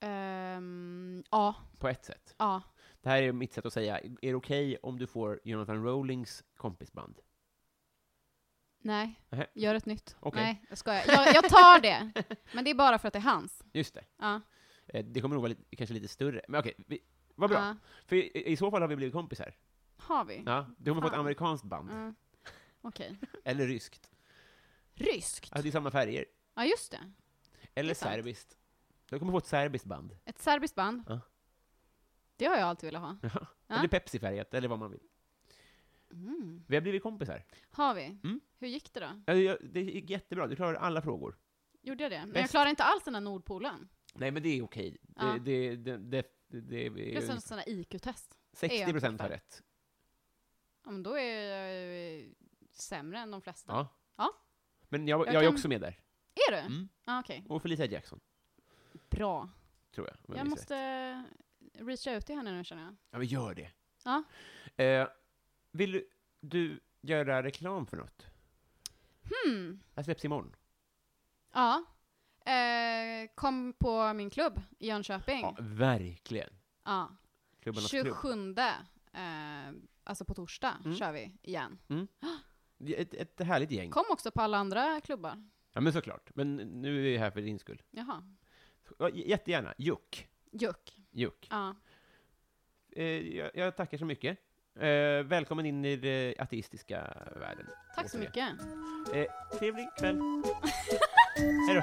Ehm, ja,
På ett sätt.
ja.
Det här är mitt sätt att säga, är det okej om du får Jonathan Rowlings kompisband?
Nej.
Nähä.
Gör ett nytt.
Okej.
Nej, jag skojar. Jag, jag tar det. Men det är bara för att det är hans.
Just det.
Ja.
Eh, Det kommer nog vara lite, kanske lite större. Men okej, vi- vad bra.
Ja.
För i, i så fall har vi blivit kompisar.
Har vi?
Ja, du kommer få ett
Fan.
amerikanskt band.
Mm. Okej.
Eller ryskt.
Ryskt?
Ja, det är samma färger.
Ja, just det. Det
Eller
är sant.
serbiskt. Du kommer få ett serbiskt band.
Ett serbiskt band.
Ja.
Det har jag alltid velat ha. Ja.
Eller Pepsi-färgat, eller vad man vill.
Mm.
Vi har blivit kompisar.
Har vi?
Mm.
Hur gick det då?
Ja, det- Det gick jättebra, du klarade alla frågor.
Gjorde jag det? Men jag
Bäst.
klarade inte alls den där Nordpolen.
Nej, men det är okej. Det-
Ja.
Det, det, det, det, det
Plus
är
en sån där IQ-test.
60 procent har rätt.
Ja, men då är jag eh, sämre än de flesta.
Ja.
Ja.
Men jag,
Jag
jag, är
kan-
också med där.
Är du?
Mm.
Ja, okej.
Och Felicia Jackson,
Bra.
tror jag. om
jag
minns rätt.
måste reacha ut till henne nu känner jag.
Ja, men gör det.
Ja.
Eh, vill du- du göra reklam för något?
Hmm.
Det här släpps imorgon.
Ja. Eh, kom på min klubb i Jönköping.
Ja, verkligen.
Ja.
Klubbarnas klubb.
27. Eh, alltså på torsdag
Mm.
kör vi igen.
Ett, ett härligt gäng.
Kom också på alla andra klubbar.
Ja, men såklart. Men nu är vi här för din skull.
Jaha.
Ja, j- Jättegärna. Juck.
Juck.
Juck.
Ja.
Eh, jag, jag tackar så mycket. Eh, välkommen in i den ateistiska världen.
Tack så
Återigen.
mycket.
Eh, trevlig kväll. Hej då.